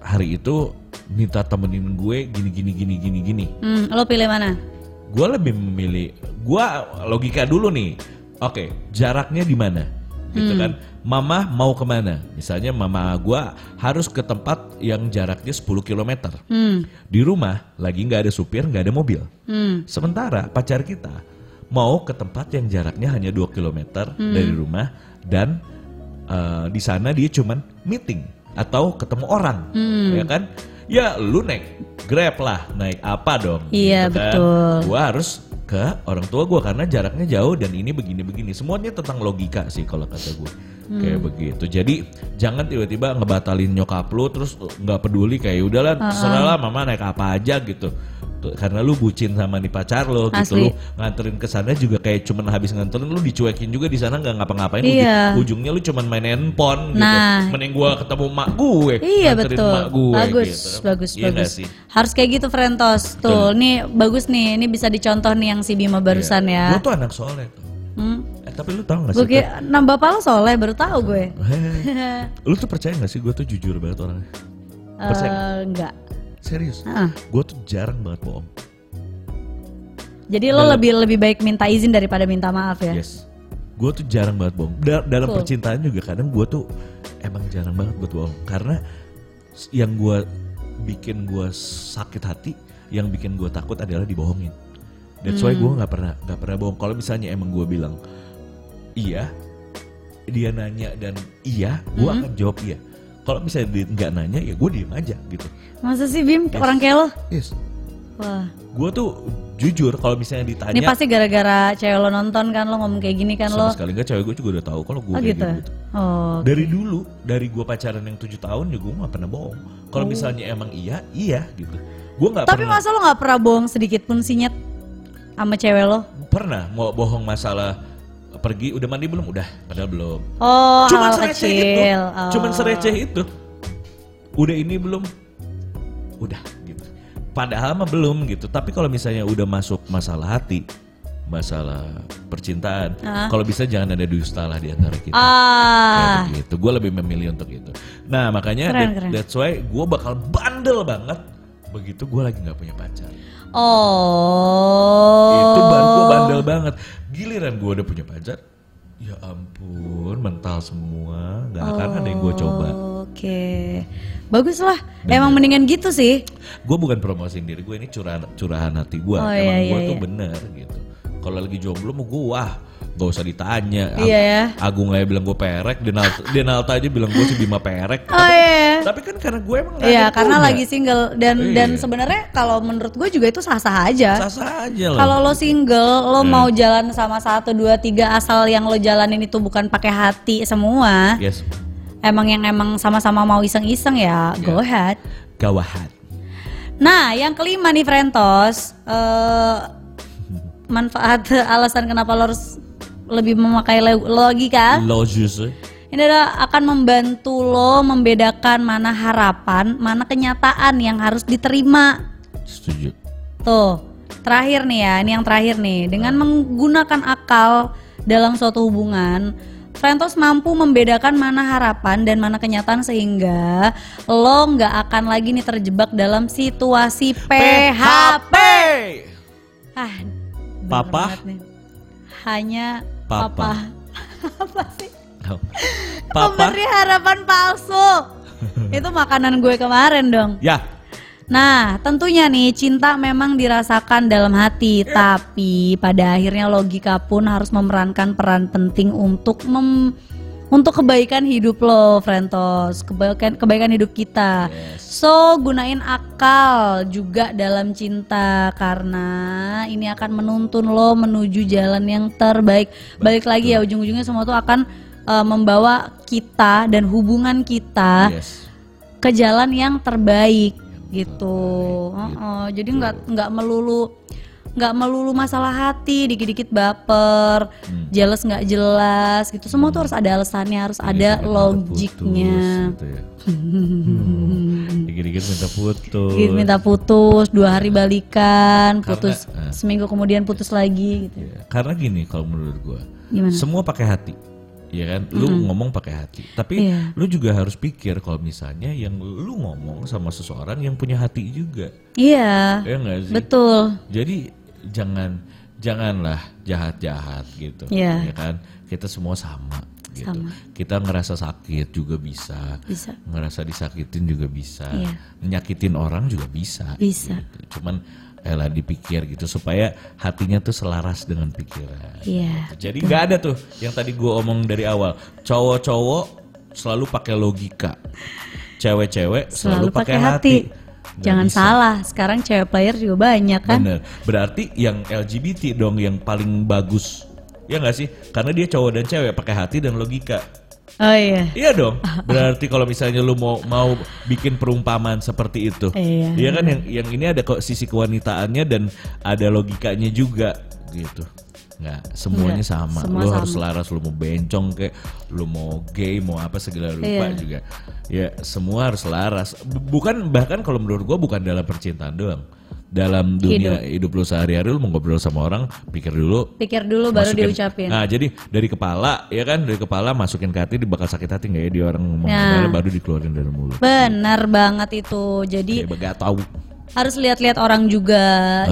Speaker 2: hari itu minta temenin gue gini gini gini gini gini
Speaker 1: Hmm, lo pilih mana?
Speaker 2: gue lebih memilih gue logika dulu nih oke jaraknya di mana gitu
Speaker 1: Hmm.
Speaker 2: kan mama mau kemana misalnya mama gue harus ke tempat yang jaraknya 10 km
Speaker 1: Hmm,
Speaker 2: di rumah lagi nggak ada supir nggak ada mobil
Speaker 1: hmm,
Speaker 2: sementara pacar kita mau ke tempat yang jaraknya hanya 2 km
Speaker 1: Hmm.
Speaker 2: dari rumah dan eh, di sana dia cuman meeting atau ketemu orang
Speaker 1: hmm.
Speaker 2: ya kan? Ya lu naik Grab lah, naik apa dong?
Speaker 1: Iya,
Speaker 2: kan?
Speaker 1: betul.
Speaker 2: Gua harus ke orang tua gua karena jaraknya jauh dan ini begini-begini. Semuanya tentang logika sih kalau kata gue.
Speaker 1: Hmm.
Speaker 2: Kayak begitu. Jadi jangan tiba-tiba ngebatalin nyokap lu terus eh, nggak peduli kayak udahlah terserah lah mama naik apa aja gitu. Tuh, Karena lu bucin sama nih pacar lo gitu
Speaker 1: Asli.
Speaker 2: lu nganterin ke sana juga kayak cuman habis nganterin lu dicuekin juga di sana nggak ngapa-ngapain uju-
Speaker 1: Iya.
Speaker 2: ujungnya lu cuman main handphone
Speaker 1: Nah.
Speaker 2: gitu. Mending gua ketemu mak gue
Speaker 1: Iya
Speaker 2: nganterin
Speaker 1: betul.
Speaker 2: mak gue
Speaker 1: bagus,
Speaker 2: gitu.
Speaker 1: bagus,
Speaker 2: Iya
Speaker 1: bagus.
Speaker 2: nggak sih?
Speaker 1: Harus kayak gitu Frentos. Tuh, nih bagus nih. Ini bisa dicontoh nih yang si Bima barusan
Speaker 2: Gue
Speaker 1: ya.
Speaker 2: tuh anak soleh tuh.
Speaker 1: Hmm.
Speaker 2: Eh, tapi lu tau gak
Speaker 1: Gue
Speaker 2: sih?
Speaker 1: kira- nambah pala soleh baru tahu gue.
Speaker 2: Heh. Eh, lu tuh percaya gak sih gue tuh jujur banget orangnya? Percaya nggak?
Speaker 1: Eh, enggak.
Speaker 2: Serius?
Speaker 1: Heeh.
Speaker 2: Gue tuh jarang banget bohong.
Speaker 1: Jadi lo lebih lebih baik minta izin daripada minta maaf ya.
Speaker 2: Yes. Gue tuh jarang banget bohong. Da- dalam
Speaker 1: Cool.
Speaker 2: percintaan juga kadang gue tuh emang jarang banget buat bohong. Karena s- yang gue bikin gue sakit hati, yang bikin gue takut adalah dibohongin. That's why gue nggak pernah nggak pernah bohong. Kalau misalnya emang gue bilang iya, dia nanya dan iya, gue akan jawab iya. Kalau misalnya dia nggak nanya ya gue diem aja gitu.
Speaker 1: Masa sih Bim orang kayak lo?
Speaker 2: Yes.
Speaker 1: Wah.
Speaker 2: Gue tuh jujur kalau misalnya ditanya
Speaker 1: Ini pasti gara-gara cewek lo nonton kan lo ngomong kayak gini kan lo.
Speaker 2: sama sekali nggak cewek gue juga udah tahu kalau gue
Speaker 1: Oh
Speaker 2: kayak
Speaker 1: gitu.
Speaker 2: gitu.
Speaker 1: Oh.
Speaker 2: Dari dulu, dari gue pacaran yang tujuh tahun ya gue gak pernah bohong. Kalau misalnya emang iya, iya gitu. Gue gak
Speaker 1: Oh. Tapi
Speaker 2: pernah,
Speaker 1: masa lo nggak pernah bohong sedikit pun sinyet sama cewek lo?
Speaker 2: pernah mau bohong masalah pergi udah mandi belum? Udah, padahal belum.
Speaker 1: Oh,
Speaker 2: Cuman
Speaker 1: hal
Speaker 2: sereceh itu.
Speaker 1: kecil. Oh.
Speaker 2: Cuman sereceh itu. Udah ini belum? Udah gitu. Padahal mah belum gitu. Tapi kalau misalnya udah masuk masalah hati, masalah percintaan, kalau bisa jangan ada dusta lah di antara kita.
Speaker 1: Ah,
Speaker 2: Kayak gitu. Gue lebih memilih untuk itu. Nah
Speaker 1: Keren,
Speaker 2: makanya that-
Speaker 1: keren.
Speaker 2: that's why gue bakal bandel banget begitu gue lagi nggak punya pacar.
Speaker 1: oh,
Speaker 2: Itu baru gue bandel banget. Giliran gue udah punya pacar, ya ampun mental semua, nggak akan ada yang gue coba.
Speaker 1: Oke, bagus lah. Emang mendingan gitu sih.
Speaker 2: Gue bukan promosiin diri gue ini curahan curahan hati gue.
Speaker 1: Oh,
Speaker 2: Emang
Speaker 1: iya,
Speaker 2: gue
Speaker 1: iya,
Speaker 2: tuh bener gitu. Kalau lagi jomblo mau gue wah gak usah ditanya. Ag-
Speaker 1: Iya ya.
Speaker 2: Agung aja bilang gue perek, Denalta, Denalta aja bilang gue si Bima perek.
Speaker 1: Oh iya.
Speaker 2: Tapi kan karena gue emang nggak ada
Speaker 1: Iya,
Speaker 2: yang
Speaker 1: karena
Speaker 2: punya.
Speaker 1: lagi single dan
Speaker 2: Iya.
Speaker 1: dan sebenarnya kalau menurut gue juga itu sah-sah aja.
Speaker 2: sah aja lah.
Speaker 1: Kalau lo single, lo mau jalan sama satu, dua, tiga, asal yang lo jalanin itu bukan pakai hati semua.
Speaker 2: Yes.
Speaker 1: Emang yang emang sama-sama mau iseng-iseng ya, go ahead.
Speaker 2: Gawahan.
Speaker 1: Nah, yang kelima nih Frentos, eh manfaat alasan kenapa lo harus lebih memakai le- logika.
Speaker 2: Hmm. Logis.
Speaker 1: Ini adalah akan membantu lo membedakan mana harapan, mana kenyataan yang harus diterima.
Speaker 2: Setuju.
Speaker 1: Tuh, terakhir nih ya, ini yang terakhir nih. Dengan menggunakan akal dalam suatu hubungan, Frentos mampu membedakan mana harapan dan mana kenyataan sehingga lo nggak akan lagi nih terjebak dalam situasi PHP. Ah, bener
Speaker 2: Papa?
Speaker 1: banget nih. Hanya
Speaker 2: Papa.
Speaker 1: papa. Apa sih?
Speaker 2: Papa.
Speaker 1: Pemberi harapan palsu. Itu makanan gue kemarin dong.
Speaker 2: Ya.
Speaker 1: Nah, tentunya nih cinta memang dirasakan dalam hati, tapi pada akhirnya logika pun harus memerankan peran penting untuk mem- untuk kebaikan hidup lo, Frentos, kebaikan kebaikan hidup kita. So, gunain akal juga dalam cinta karena ini akan menuntun lo menuju jalan yang terbaik. Balik lagi ya ujung-ujungnya semua tuh akan eh, membawa kita dan hubungan kita
Speaker 2: Yes.
Speaker 1: ke jalan yang terbaik gitu. Heeh, jadi nggak nggak melulu nggak melulu masalah hati, dikit-dikit baper,
Speaker 2: Hmm.
Speaker 1: jealous nggak jelas gitu. Semua tuh harus ada alasannya, harus ada
Speaker 2: Dikit-dikit Iya, minta
Speaker 1: logiknya.
Speaker 2: putus gitu ya. Hmm. Dikit-dikit minta putus.
Speaker 1: Dikit Gitu, minta putus, dua hari balikan, putus
Speaker 2: Karena- eh,
Speaker 1: seminggu kemudian putus lagi gitu.
Speaker 2: Ya, Karena gini kalau menurut gua,
Speaker 1: Gimana?
Speaker 2: semua pakai hati. Ya kan, lu ngomong pakai hati. Tapi
Speaker 1: Iya.
Speaker 2: lu juga harus pikir kalau misalnya yang lu ngomong sama seseorang yang punya hati juga.
Speaker 1: Iya,
Speaker 2: Ya enggak sih?
Speaker 1: betul.
Speaker 2: Jadi jangan janganlah jahat-jahat gitu,
Speaker 1: Iya.
Speaker 2: ya kan? Kita semua sama gitu.
Speaker 1: Sama.
Speaker 2: Kita ngerasa sakit juga bisa,
Speaker 1: Bisa,
Speaker 2: ngerasa disakitin juga bisa,
Speaker 1: Iya.
Speaker 2: nyakitin orang juga bisa.
Speaker 1: Bisa.
Speaker 2: gitu. Cuman elah dipikir gitu supaya hatinya tuh selaras dengan pikiran. Gitu.
Speaker 1: iya.
Speaker 2: Jadi nggak ada tuh yang tadi gue omong dari awal. Cowok-cowok selalu pakai logika, cewek-cewek
Speaker 1: Selalu
Speaker 2: selalu, pakai hati. Nggak
Speaker 1: Jangan
Speaker 2: bisa.
Speaker 1: salah, sekarang cewek player juga banyak kan?
Speaker 2: Bener. Berarti yang LGBT dong yang paling bagus. Ya nggak sih? Karena dia cowok dan cewek pakai hati dan logika.
Speaker 1: Oh iya.
Speaker 2: Iya dong. Berarti kalau misalnya lu mau mau bikin perumpamaan seperti itu,
Speaker 1: Iya.
Speaker 2: Iya kan yang yang ini ada kok sisi kewanitaannya dan ada logikanya juga gitu. Nggak, semuanya sama.
Speaker 1: semua
Speaker 2: lu
Speaker 1: sama.
Speaker 2: harus laras, lu mau bencong kayak lu mau gay, mau apa segala lupa
Speaker 1: Iya.
Speaker 2: juga. Ya, semua harus laras. B- Bukan bahkan kalau menurut gua bukan dalam percintaan doang. Dalam dunia hidup, lu sehari-hari lu mau ngobrol sama orang, pikir dulu
Speaker 1: Pikir dulu baru
Speaker 2: masukin-
Speaker 1: diucapin.
Speaker 2: Nah, jadi dari kepala ya kan dari kepala masukin ke hati dia bakal sakit hati nggak ya dia orang ngomong
Speaker 1: Nah.
Speaker 2: kepala, baru dikeluarin dari mulut.
Speaker 1: Benar banget itu. Jadi
Speaker 2: Dia gak tahu.
Speaker 1: harus lihat-lihat orang juga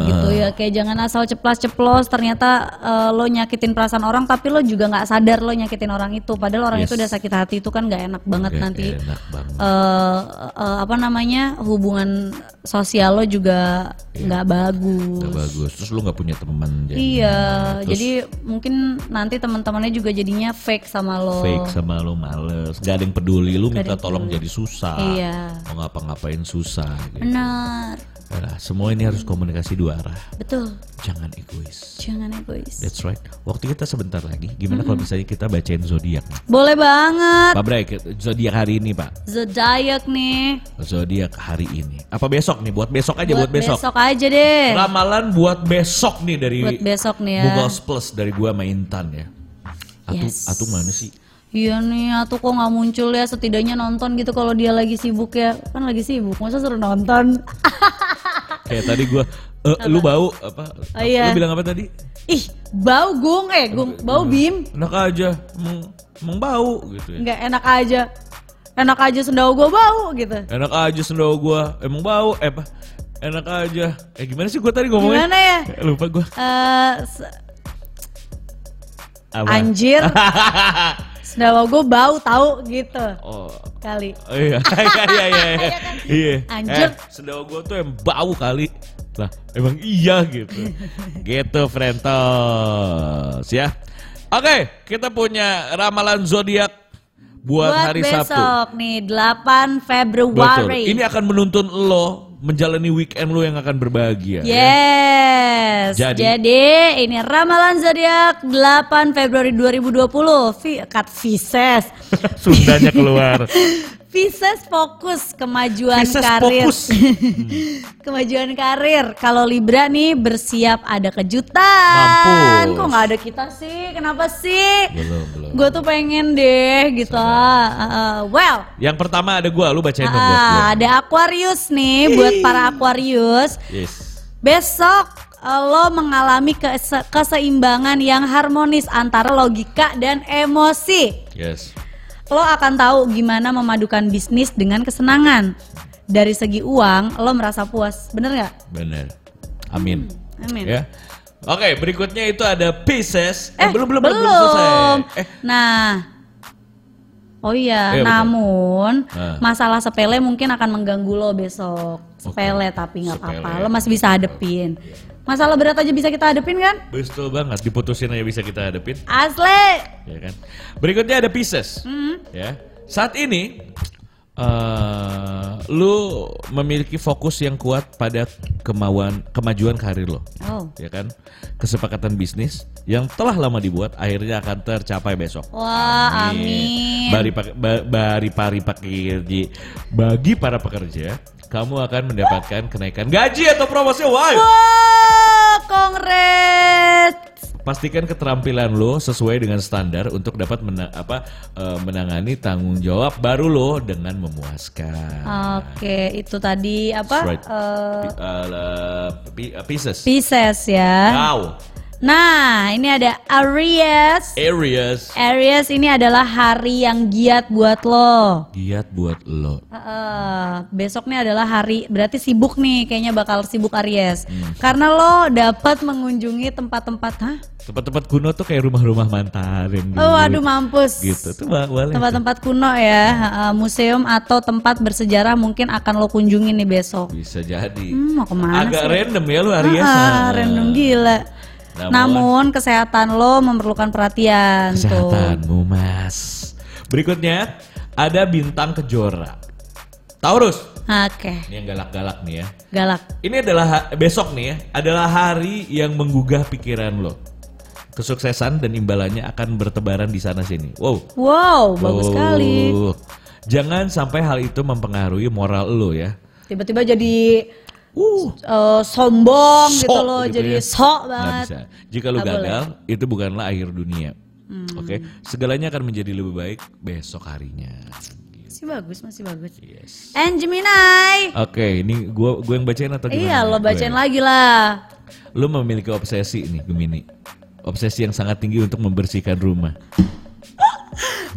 Speaker 1: gitu
Speaker 2: Ah.
Speaker 1: ya. Kayak jangan asal ceplas-ceplos ternyata eh, lo nyakitin perasaan orang tapi lo juga nggak sadar lo nyakitin orang itu. Padahal orang
Speaker 2: Yes.
Speaker 1: itu udah sakit hati itu kan nggak enak banget
Speaker 2: Nggak
Speaker 1: nanti.
Speaker 2: Enak banget.
Speaker 1: eh, eh, apa namanya hubungan sosial lo juga nggak bagus.
Speaker 2: Iya. Nggak bagus. Terus lu nggak punya teman jadi
Speaker 1: Iya, jadi mungkin nanti teman-temannya juga jadinya fake sama lo.
Speaker 2: fake sama lu males. Gak ada yang peduli lu minta tolong jadi susah.
Speaker 1: Iya.
Speaker 2: Mau ngapa-ngapain susah gitu.
Speaker 1: Benar,
Speaker 2: Nah, semua ini harus komunikasi dua arah.
Speaker 1: betul.
Speaker 2: Jangan egois.
Speaker 1: Jangan egois.
Speaker 2: That's right. Waktu kita sebentar lagi. Gimana kalau misalnya kita bacain zodiak? nih?
Speaker 1: Boleh banget.
Speaker 2: Pak Bray, zodiak hari ini, Pak.
Speaker 1: Zodiac nih.
Speaker 2: zodiak hari ini. Apa besok nih? Buat besok aja, Iya, buat, besok.
Speaker 1: aja deh.
Speaker 2: Ramalan buat besok nih dari
Speaker 1: Buat besok nih ya.
Speaker 2: Google Plus dari gua sama Intan ya. Atu,
Speaker 1: Yes.
Speaker 2: atu mana sih?
Speaker 1: Iya nih, atuh kok nggak muncul ya setidaknya nonton gitu kalau dia lagi sibuk ya. Kan lagi sibuk, masa suruh nonton?
Speaker 2: Kayak tadi gua eh, lu bau apa?
Speaker 1: Oh, iya.
Speaker 2: Lu bilang apa tadi?
Speaker 1: Ih, bau gung eh, gung, bau bim.
Speaker 2: Enak aja, emang, emang bau gitu ya.
Speaker 1: Nggak enak aja. Enak aja sendau gua bau gitu.
Speaker 2: Enak aja sendawa gua, emang bau. Eh apa? Enak aja. Eh gimana sih gua tadi ngomongnya?
Speaker 1: Gimana ya?
Speaker 2: Eh, Lupa gua.
Speaker 1: Eh, se-
Speaker 2: Apa?
Speaker 1: anjir, sendawa gua bau tahu gitu
Speaker 2: oh.
Speaker 1: kali.
Speaker 2: Oh iya, iya, iya, iya, iya, iya.
Speaker 1: kan? Anjir.
Speaker 2: Eh, sendawa gue tuh yang bau kali. Lah, emang iya gitu. gitu, Frentos, ya. Oke, kita punya ramalan zodiak buat,
Speaker 1: Buat
Speaker 2: hari
Speaker 1: besok
Speaker 2: Sabtu.
Speaker 1: nih 8
Speaker 2: Betul.
Speaker 1: Februari.
Speaker 2: Ini akan menuntun lo menjalani weekend lo yang akan berbahagia. ya.
Speaker 1: Yes.
Speaker 2: Jadi-
Speaker 1: Jadi, ini ramalan zodiak 8 Februari 2020. Vi, kat Pisces.
Speaker 2: Sundanya keluar.
Speaker 1: Pisces fokus kemajuan
Speaker 2: Pisces
Speaker 1: karir.
Speaker 2: fokus.
Speaker 1: kemajuan karir. Kalau Libra nih bersiap ada kejutan.
Speaker 2: Mampus.
Speaker 1: Kok nggak ada kita sih? Kenapa sih?
Speaker 2: belum, belum.
Speaker 1: Gue tuh pengen deh gitu. ah. Ah, well,
Speaker 2: Yang pertama ada gua, lu bacain dong buat gua.
Speaker 1: ah, ada Aquarius nih buat para Aquarius.
Speaker 2: Yes.
Speaker 1: Besok eh, lo mengalami kese- keseimbangan yang harmonis antara logika dan emosi.
Speaker 2: Yes.
Speaker 1: Lo akan tahu gimana memadukan bisnis dengan kesenangan. Dari segi uang, lo merasa puas, bener nggak?
Speaker 2: Bener. Amin.
Speaker 1: Amin.
Speaker 2: Ya. Oke, berikutnya itu ada Pisces.
Speaker 1: Eh,
Speaker 2: belum belum
Speaker 1: belum.
Speaker 2: selesai. Eh,
Speaker 1: Nah, oh iya,
Speaker 2: Iya, betul.
Speaker 1: namun
Speaker 2: Nah.
Speaker 1: masalah sepele mungkin akan mengganggu lo besok. Sepele tapi nggak
Speaker 2: Sepele.
Speaker 1: apa-apa, lo masih bisa hadepin. Masalah berat aja bisa kita hadepin kan?
Speaker 2: Betul banget, diputusin aja bisa kita hadepin,
Speaker 1: Asli.
Speaker 2: ya kan? Berikutnya ada Pieces.
Speaker 1: Hmm.
Speaker 2: Ya. Saat ini eh lu memiliki fokus yang kuat pada kemauan kemajuan karir lo.
Speaker 1: Oh.
Speaker 2: Ya kan? Kesepakatan bisnis yang telah lama dibuat akhirnya akan tercapai besok.
Speaker 1: Wah, amin.
Speaker 2: Bari, pak- ba- bari pari pekerji. Bagi para pekerja, kamu akan mendapatkan kenaikan gaji atau promosi. Wow.
Speaker 1: Wah, Oh, kongres.
Speaker 2: Pastikan keterampilan lo sesuai dengan standar untuk dapat mena- apa eh, menangani tanggung jawab baru lo dengan memuaskan.
Speaker 1: Oke, itu tadi apa?
Speaker 2: That's right.
Speaker 1: Eh,
Speaker 2: Pi- eh, pi- eh, Pieces.
Speaker 1: Pisces ya.
Speaker 2: Wow.
Speaker 1: Nah, ini ada Aries.
Speaker 2: Areas.
Speaker 1: Aries ini adalah hari yang giat buat lo.
Speaker 2: Giat buat lo.
Speaker 1: Heeh, besoknya adalah hari berarti sibuk nih kayaknya bakal sibuk Aries
Speaker 2: Hmm.
Speaker 1: karena lo dapat mengunjungi tempat-tempat hah
Speaker 2: Tempat-tempat kuno tuh kayak rumah-rumah mantan yang dulu.
Speaker 1: oh aduh mampus
Speaker 2: Gitu tuh ba- boleh.
Speaker 1: tempat-tempat kuno ya heeh, museum atau tempat bersejarah mungkin akan lo kunjungi nih besok
Speaker 2: Bisa jadi.
Speaker 1: hmm, mau kemana
Speaker 2: Agak
Speaker 1: sih?
Speaker 2: random ya lu Nah, Aries.
Speaker 1: Ah, random gila.
Speaker 2: Namun-
Speaker 1: Namun, kesehatan lo memerlukan perhatian tuh.
Speaker 2: Kesehatanmu mas. Berikutnya ada bintang kejora. Taurus.
Speaker 1: Oke,
Speaker 2: Ini yang galak-galak nih ya.
Speaker 1: galak.
Speaker 2: Ini adalah ha- besok nih ya, adalah hari yang menggugah pikiran lo. Kesuksesan dan imbalannya akan bertebaran di sana sini. Wow.
Speaker 1: Wow, bagus
Speaker 2: Wow.
Speaker 1: sekali.
Speaker 2: Jangan sampai hal itu mempengaruhi moral lo ya.
Speaker 1: Tiba-tiba jadi
Speaker 2: Uh,
Speaker 1: eh, sombong
Speaker 2: sok
Speaker 1: gitu loh,
Speaker 2: gitu
Speaker 1: jadi
Speaker 2: ya.
Speaker 1: sok
Speaker 2: nggak
Speaker 1: banget.
Speaker 2: bisa. Jika lu
Speaker 1: Nggak Hmm.
Speaker 2: gagal, itu bukanlah akhir dunia. Oke, segalanya akan menjadi lebih baik besok harinya.
Speaker 1: Masih bagus, masih bagus.
Speaker 2: Yes.
Speaker 1: And Gemini.
Speaker 2: Oke, ini gua gua yang bacain atau gimana?
Speaker 1: Iya, lo
Speaker 2: Gua
Speaker 1: bacain
Speaker 2: ya?
Speaker 1: lagi lah.
Speaker 2: Lu memiliki obsesi nih, Gemini. Obsesi yang sangat tinggi untuk membersihkan rumah.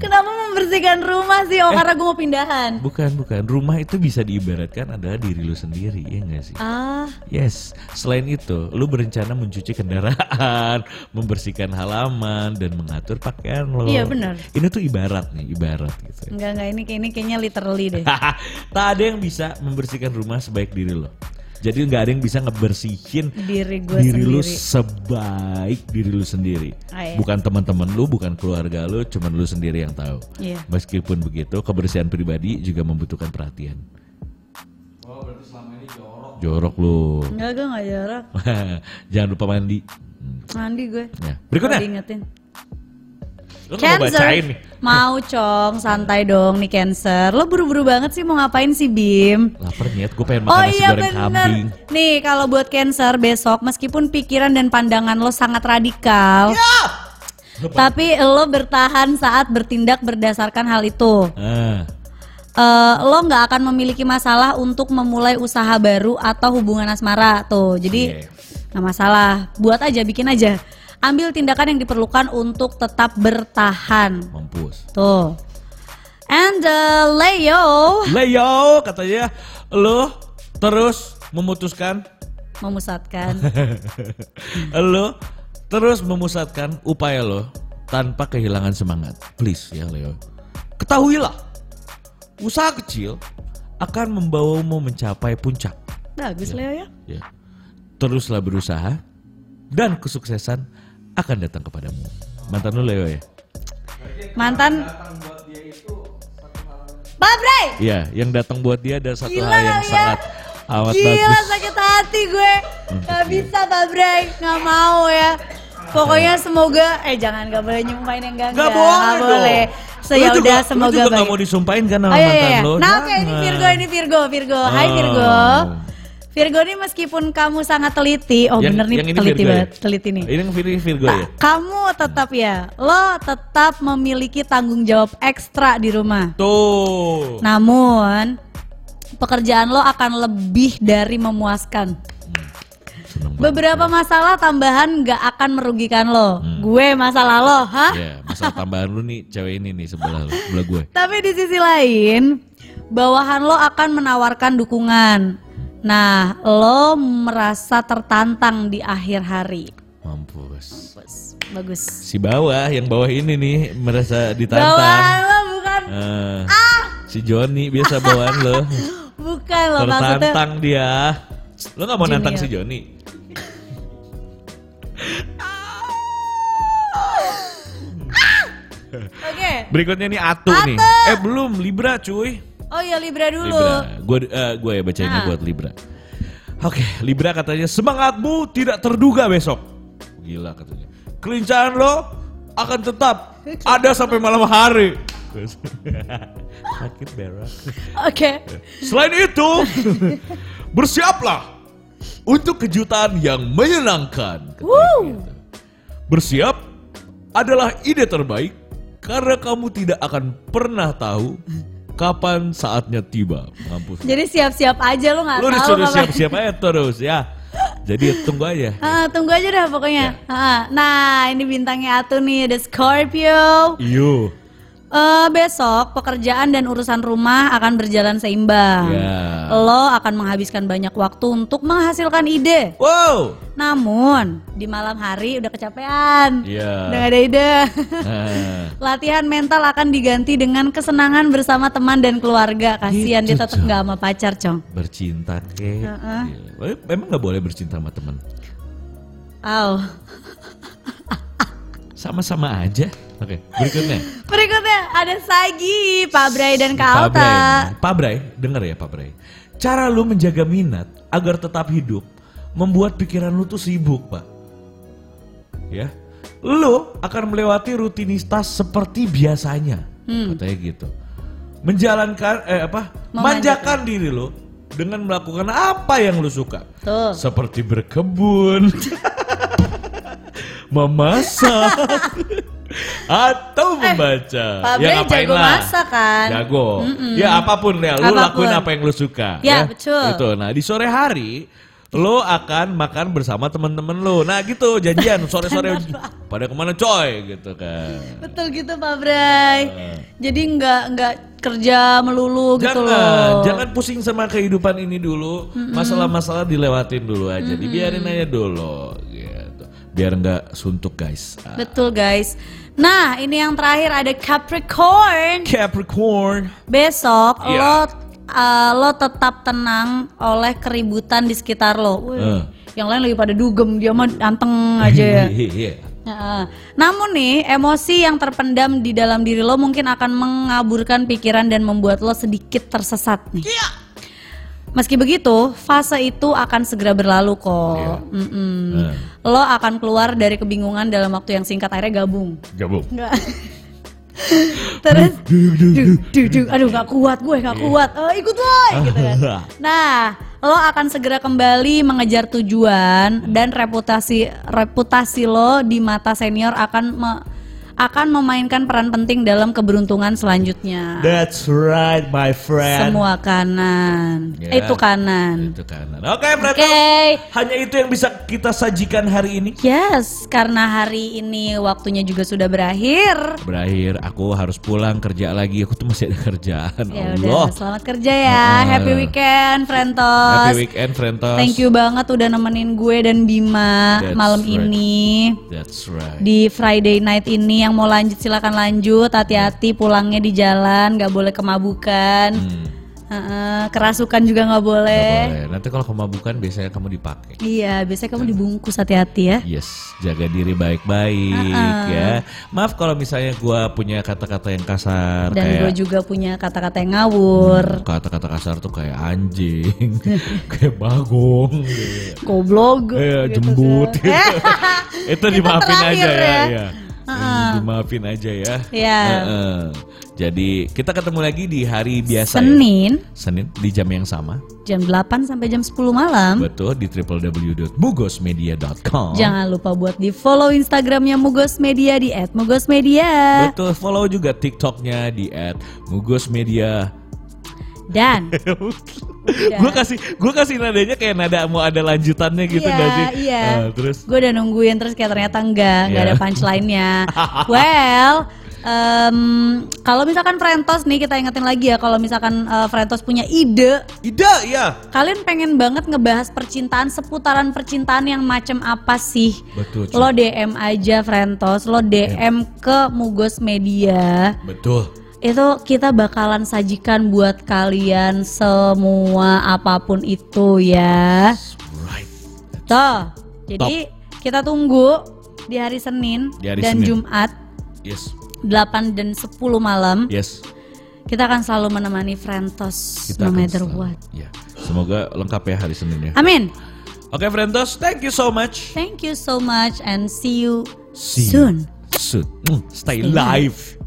Speaker 1: Kenapa membersihkan rumah sih?
Speaker 2: Eh.
Speaker 1: Oh, karena gue mau pindahan.
Speaker 2: Bukan, bukan. Rumah itu bisa diibaratkan adalah diri lu sendiri, ya enggak sih?
Speaker 1: Ah,
Speaker 2: Yes. Selain itu, lu berencana mencuci kendaraan, membersihkan halaman dan mengatur pakaian lo.
Speaker 1: Iya, benar.
Speaker 2: Ini tuh ibarat nih, ibarat gitu. ya.
Speaker 1: enggak enggak ini ini kayaknya literally deh.
Speaker 2: tak ada yang bisa membersihkan rumah sebaik diri lo. Jadi nggak ada yang bisa ngebersihin
Speaker 1: Diri gue
Speaker 2: diri lu
Speaker 1: sendiri.
Speaker 2: sebaik diri lu sendiri.
Speaker 1: Ah, iya.
Speaker 2: Bukan teman-teman lu, bukan keluarga lu, cuman lu sendiri yang tahu.
Speaker 1: Iya.
Speaker 2: Meskipun begitu, kebersihan pribadi juga membutuhkan perhatian. Oh, berarti selama ini jorok. Jorok lu.
Speaker 1: Enggak, gue enggak jarak.
Speaker 2: Jangan lupa mandi. Hmm.
Speaker 1: Mandi gue.
Speaker 2: Ya. Berikutnya,
Speaker 1: Kalau diingetin.
Speaker 2: lu mau bacain
Speaker 1: Cancer.
Speaker 2: nih.
Speaker 1: Mau cong, santai dong nih Cancer. Lo buru-buru banget sih mau ngapain sih Bim?
Speaker 2: Laper nyet, gue pengen makan
Speaker 1: Oh
Speaker 2: nasi
Speaker 1: iya
Speaker 2: goreng kambing.
Speaker 1: bener Nih kalau buat Cancer besok meskipun pikiran dan pandangan lo sangat radikal
Speaker 2: Ya!
Speaker 1: Tapi lo bertahan saat bertindak berdasarkan hal itu
Speaker 2: Ah,
Speaker 1: Eh, Lo nggak akan memiliki masalah untuk memulai usaha baru atau hubungan asmara tuh Jadi
Speaker 2: Iya.
Speaker 1: nggak masalah Buat aja bikin aja Ambil tindakan yang diperlukan untuk tetap bertahan
Speaker 2: mampus.
Speaker 1: Tuh. And uh, Leo
Speaker 2: Leo katanya lu terus memutuskan
Speaker 1: memusatkan.
Speaker 2: lo terus memusatkan upaya lo tanpa kehilangan semangat. Please ya Leo. Ketahuilah, usaha kecil akan membawamu mencapai puncak.
Speaker 1: Bagus Leo ya.
Speaker 2: Ya. Teruslah berusaha dan kesuksesan akan datang kepadamu. Mantan lu Leo ya?
Speaker 1: Mantan Pak Bray!
Speaker 2: Iya, yang datang buat dia ada satu
Speaker 1: Gila
Speaker 2: hal yang
Speaker 1: kali ya.
Speaker 2: sangat amat
Speaker 1: Gila
Speaker 2: bagus. Hmm,
Speaker 1: sakit hati gue. Gak bisa Pak Bray, gak mau ya. Pokoknya semoga eh jangan gak boleh nyumpain yang enggak
Speaker 2: Gak boleh dong.
Speaker 1: boleh. So, ya
Speaker 2: Lu juga-
Speaker 1: udah
Speaker 2: lu
Speaker 1: semoga
Speaker 2: juga gak
Speaker 1: baik.
Speaker 2: mau disumpahin kan sama
Speaker 1: Oh iya,
Speaker 2: mantan
Speaker 1: iya.
Speaker 2: lo.
Speaker 1: Nah oke ini
Speaker 2: Jangan.
Speaker 1: Virgo ini Virgo Virgo. Hai
Speaker 2: Oh.
Speaker 1: Virgo. Virgo ini meskipun kamu sangat teliti, oh bener nih
Speaker 2: ini
Speaker 1: teliti
Speaker 2: Virgo ya?
Speaker 1: banget, teliti nih.
Speaker 2: Ini yang Virgo, Virgo ya?
Speaker 1: Kamu tetap ya, lo tetap memiliki tanggung jawab ekstra di rumah.
Speaker 2: Tuh.
Speaker 1: Namun pekerjaan lo akan lebih dari memuaskan.
Speaker 2: Seneng banget.
Speaker 1: Beberapa masalah tambahan gak akan merugikan lo.
Speaker 2: Hmm.
Speaker 1: Gue masalah lo, hah?
Speaker 2: Ya, masalah tambahan lu nih cewek ini nih sebelah lu, sebelah gue.
Speaker 1: Tapi di sisi lain, bawahan lo akan menawarkan dukungan. Nah, lo merasa tertantang di akhir hari.
Speaker 2: Mampus.
Speaker 1: Bus, Bagus.
Speaker 2: Si bawah, yang bawah ini nih merasa
Speaker 1: Bawahan
Speaker 2: ditantang.
Speaker 1: lo bukan
Speaker 2: Eh, si Joni biasa bawaan lo.
Speaker 1: bukan lo maksudnya
Speaker 2: Tertantang dia. Lo gak mau nantang si
Speaker 1: Junior.
Speaker 2: Joni? Berikutnya nih Atu, nih. Eh belum Libra cuy.
Speaker 1: Oh iya Libra dulu.
Speaker 2: Libra. Gue gue ya bacanya
Speaker 1: Ah.
Speaker 2: buat Libra. Oke, Libra katanya semangatmu tidak terduga besok. Gila katanya. Kelincahan lo akan tetap ada sampai malam hari. Terus, Sakit berak.
Speaker 1: Oke.
Speaker 2: Selain itu, bersiaplah untuk kejutan yang menyenangkan. katanya
Speaker 1: Woo.
Speaker 2: gitu. Bersiap adalah ide terbaik karena kamu tidak akan pernah tahu kapan saatnya tiba. Mampus.
Speaker 1: Jadi siap-siap aja lo nggak
Speaker 2: Lu
Speaker 1: tahu
Speaker 2: disuruh
Speaker 1: kapan-
Speaker 2: siap-siap aja terus ya. Jadi tunggu aja.
Speaker 1: Ah, tunggu aja dah pokoknya.
Speaker 2: Iya.
Speaker 1: Ah, nah, ini bintangnya Atu nih, ada Scorpio.
Speaker 2: Iyo.
Speaker 1: Eh, besok pekerjaan dan urusan rumah akan berjalan seimbang.
Speaker 2: Ya.
Speaker 1: Lo akan menghabiskan banyak waktu untuk menghasilkan ide.
Speaker 2: Wow.
Speaker 1: Namun, di malam hari udah kecapean. Udah
Speaker 2: Iya.
Speaker 1: gak ada ide.
Speaker 2: Nah.
Speaker 1: Latihan mental akan diganti dengan kesenangan bersama teman dan keluarga. Kasihan
Speaker 2: Gitu,
Speaker 1: dia tetap nggak sama pacar, Cong.
Speaker 2: Bercinta kek. Iya. Emang nggak boleh bercinta sama teman.
Speaker 1: Au.
Speaker 2: Sama-sama aja. Oke, berikutnya.
Speaker 1: Berikutnya ada Sagi, Pak Bray dan Kak
Speaker 2: Pak
Speaker 1: Alta.
Speaker 2: Bray, Pak Bray, denger ya Pak Bray. Cara lu menjaga minat agar tetap hidup, membuat pikiran lu tuh sibuk, Pak. Ya. Lu akan melewati rutinitas seperti biasanya.
Speaker 1: Hmm.
Speaker 2: Katanya gitu. Menjalankan eh apa? Manjakan diri lu dengan melakukan apa yang lu suka.
Speaker 1: Tuh.
Speaker 2: Seperti berkebun. memasak atau membaca. Ya,
Speaker 1: Pak Bray
Speaker 2: ngapain
Speaker 1: Eh, jago
Speaker 2: lah.
Speaker 1: masak kan?
Speaker 2: Jago. Ya apapun ya, lu
Speaker 1: Apapun.
Speaker 2: lakuin apa yang lu suka.
Speaker 1: Ya, betul.
Speaker 2: Gitu. Nah, di sore hari lo akan makan bersama teman-teman lo. Nah, gitu janjian sore-sore pada kemana coy gitu kan.
Speaker 1: Betul gitu Pak Bray.
Speaker 2: Hmm.
Speaker 1: Jadi nggak nggak kerja melulu gitu
Speaker 2: Jangan,
Speaker 1: loh.
Speaker 2: jangan pusing sama kehidupan ini dulu. Masalah-masalah dilewatin dulu aja. Dibiarin aja dulu gitu. Biar nggak suntuk, guys. Ah.
Speaker 1: Betul guys. Nah ini yang terakhir ada Capricorn.
Speaker 2: Capricorn.
Speaker 1: Besok lo
Speaker 2: Iya.
Speaker 1: uh, lo tetap tenang oleh keributan di sekitar lo. Wih,
Speaker 2: Eh.
Speaker 1: Yang lain lagi pada dugem dia mah anteng aja ya.
Speaker 2: Iya.
Speaker 1: Heeh. Namun nih, emosi yang terpendam di dalam diri lo mungkin akan mengaburkan pikiran dan membuat lo sedikit tersesat nih. Meski begitu, fase itu akan segera berlalu kok. Mm-mm.
Speaker 2: Nah,
Speaker 1: Lo akan keluar dari kebingungan dalam waktu yang singkat akhirnya gabung.
Speaker 2: gabung.
Speaker 1: Enggak. Terus duh, duh, duh, aduh gak kuat gue gak kuat. Eh, ikut woi gitu kan. Nah, lo akan segera kembali mengejar
Speaker 2: Hmm.
Speaker 1: tujuan dan reputasi reputasi lo di mata senior akan me- akan memainkan peran penting dalam keberuntungan selanjutnya.
Speaker 2: That's right, my friend.
Speaker 1: Semua kanan.
Speaker 2: Ya.
Speaker 1: Itu kanan.
Speaker 2: Itu kanan. Oke, berarti
Speaker 1: Oke.
Speaker 2: hanya itu yang bisa kita sajikan hari ini.
Speaker 1: Yes, karena hari ini waktunya juga sudah berakhir.
Speaker 2: Berakhir, aku harus pulang kerja lagi. Aku tuh masih ada kerjaan.
Speaker 1: Ya
Speaker 2: Allah.
Speaker 1: udah, selamat kerja ya.
Speaker 2: Ah.
Speaker 1: Happy weekend, Frentos.
Speaker 2: Happy weekend, Frentos.
Speaker 1: Thank you banget udah nemenin gue dan Bima
Speaker 2: That's
Speaker 1: malam
Speaker 2: right.
Speaker 1: ini.
Speaker 2: That's right.
Speaker 1: Di Friday night ini yang mau lanjut silakan lanjut, hati-hati pulangnya di jalan, nggak boleh kemabukan.
Speaker 2: Hmm,
Speaker 1: Heeh, kerasukan juga nggak
Speaker 2: nggak
Speaker 1: boleh.
Speaker 2: boleh. Nanti kalau kemabukan biasanya kamu dipakai.
Speaker 1: Iya, biasanya kamu dibungkus hati-hati ya.
Speaker 2: Yes, jaga diri baik-baik
Speaker 1: Uh-uh.
Speaker 2: ya. Maaf kalau misalnya gua punya kata-kata yang kasar
Speaker 1: Dan
Speaker 2: kayak Hmm,
Speaker 1: gue juga punya kata-kata yang ngawur,
Speaker 2: kata-kata kasar tuh kayak anjing, kayak bagong, gitu.
Speaker 1: goblok.
Speaker 2: Iya,
Speaker 1: gitu
Speaker 2: jembut.
Speaker 1: kan. Eh,
Speaker 2: itu dimaafin aja
Speaker 1: terakhir
Speaker 2: ya.
Speaker 1: ya.
Speaker 2: iya. Dimaafin aja ya.
Speaker 1: Iya.
Speaker 2: Heeh. Jadi kita ketemu lagi di hari biasa ya.
Speaker 1: Senin
Speaker 2: Senin di jam yang sama.
Speaker 1: jam 8 sampai jam 10 malam.
Speaker 2: Betul di www.bugosmedia.com.
Speaker 1: Hmm? Jangan lupa buat di follow Instagramnya Mugos Media di @mugosmedia
Speaker 2: Betul follow juga TikToknya di @mugosmedia.
Speaker 1: dan Iya.
Speaker 2: gue kasih gue kasih nadanya kayak nada mau ada lanjutannya gitu
Speaker 1: Iya,
Speaker 2: nggak sih?
Speaker 1: iya.
Speaker 2: Eh, terus
Speaker 1: gue udah nungguin terus kayak ternyata enggak enggak
Speaker 2: Iya.
Speaker 1: ada punchline-nya. well, em, kalau misalkan Frentos nih kita ingetin lagi ya kalau misalkan eh, Frentos punya ide
Speaker 2: Ida ya.
Speaker 1: Kalian pengen banget ngebahas percintaan seputaran percintaan yang macam apa sih?
Speaker 2: Betul, Iya. cuy.
Speaker 1: Lo DM aja Frentos, lo DM ke Mugos Media.
Speaker 2: Betul.
Speaker 1: itu kita bakalan sajikan buat kalian semua apapun itu ya.
Speaker 2: Right.
Speaker 1: Tuh, jadi kita tunggu di hari Senin
Speaker 2: Di hari
Speaker 1: dan
Speaker 2: Senin.
Speaker 1: Jumat
Speaker 2: Yes.
Speaker 1: 8 dan 10 malam
Speaker 2: Yes.
Speaker 1: kita akan selalu menemani Frentos no
Speaker 2: akan
Speaker 1: matter
Speaker 2: selalu-
Speaker 1: what. Ah.
Speaker 2: Ya. Semoga lengkap ya hari Senin ya.
Speaker 1: Amin.
Speaker 2: Oke Frentos, thank you so much.
Speaker 1: Thank you so much and see you
Speaker 2: See you
Speaker 1: soon.
Speaker 2: Soon. Mm, Stay live.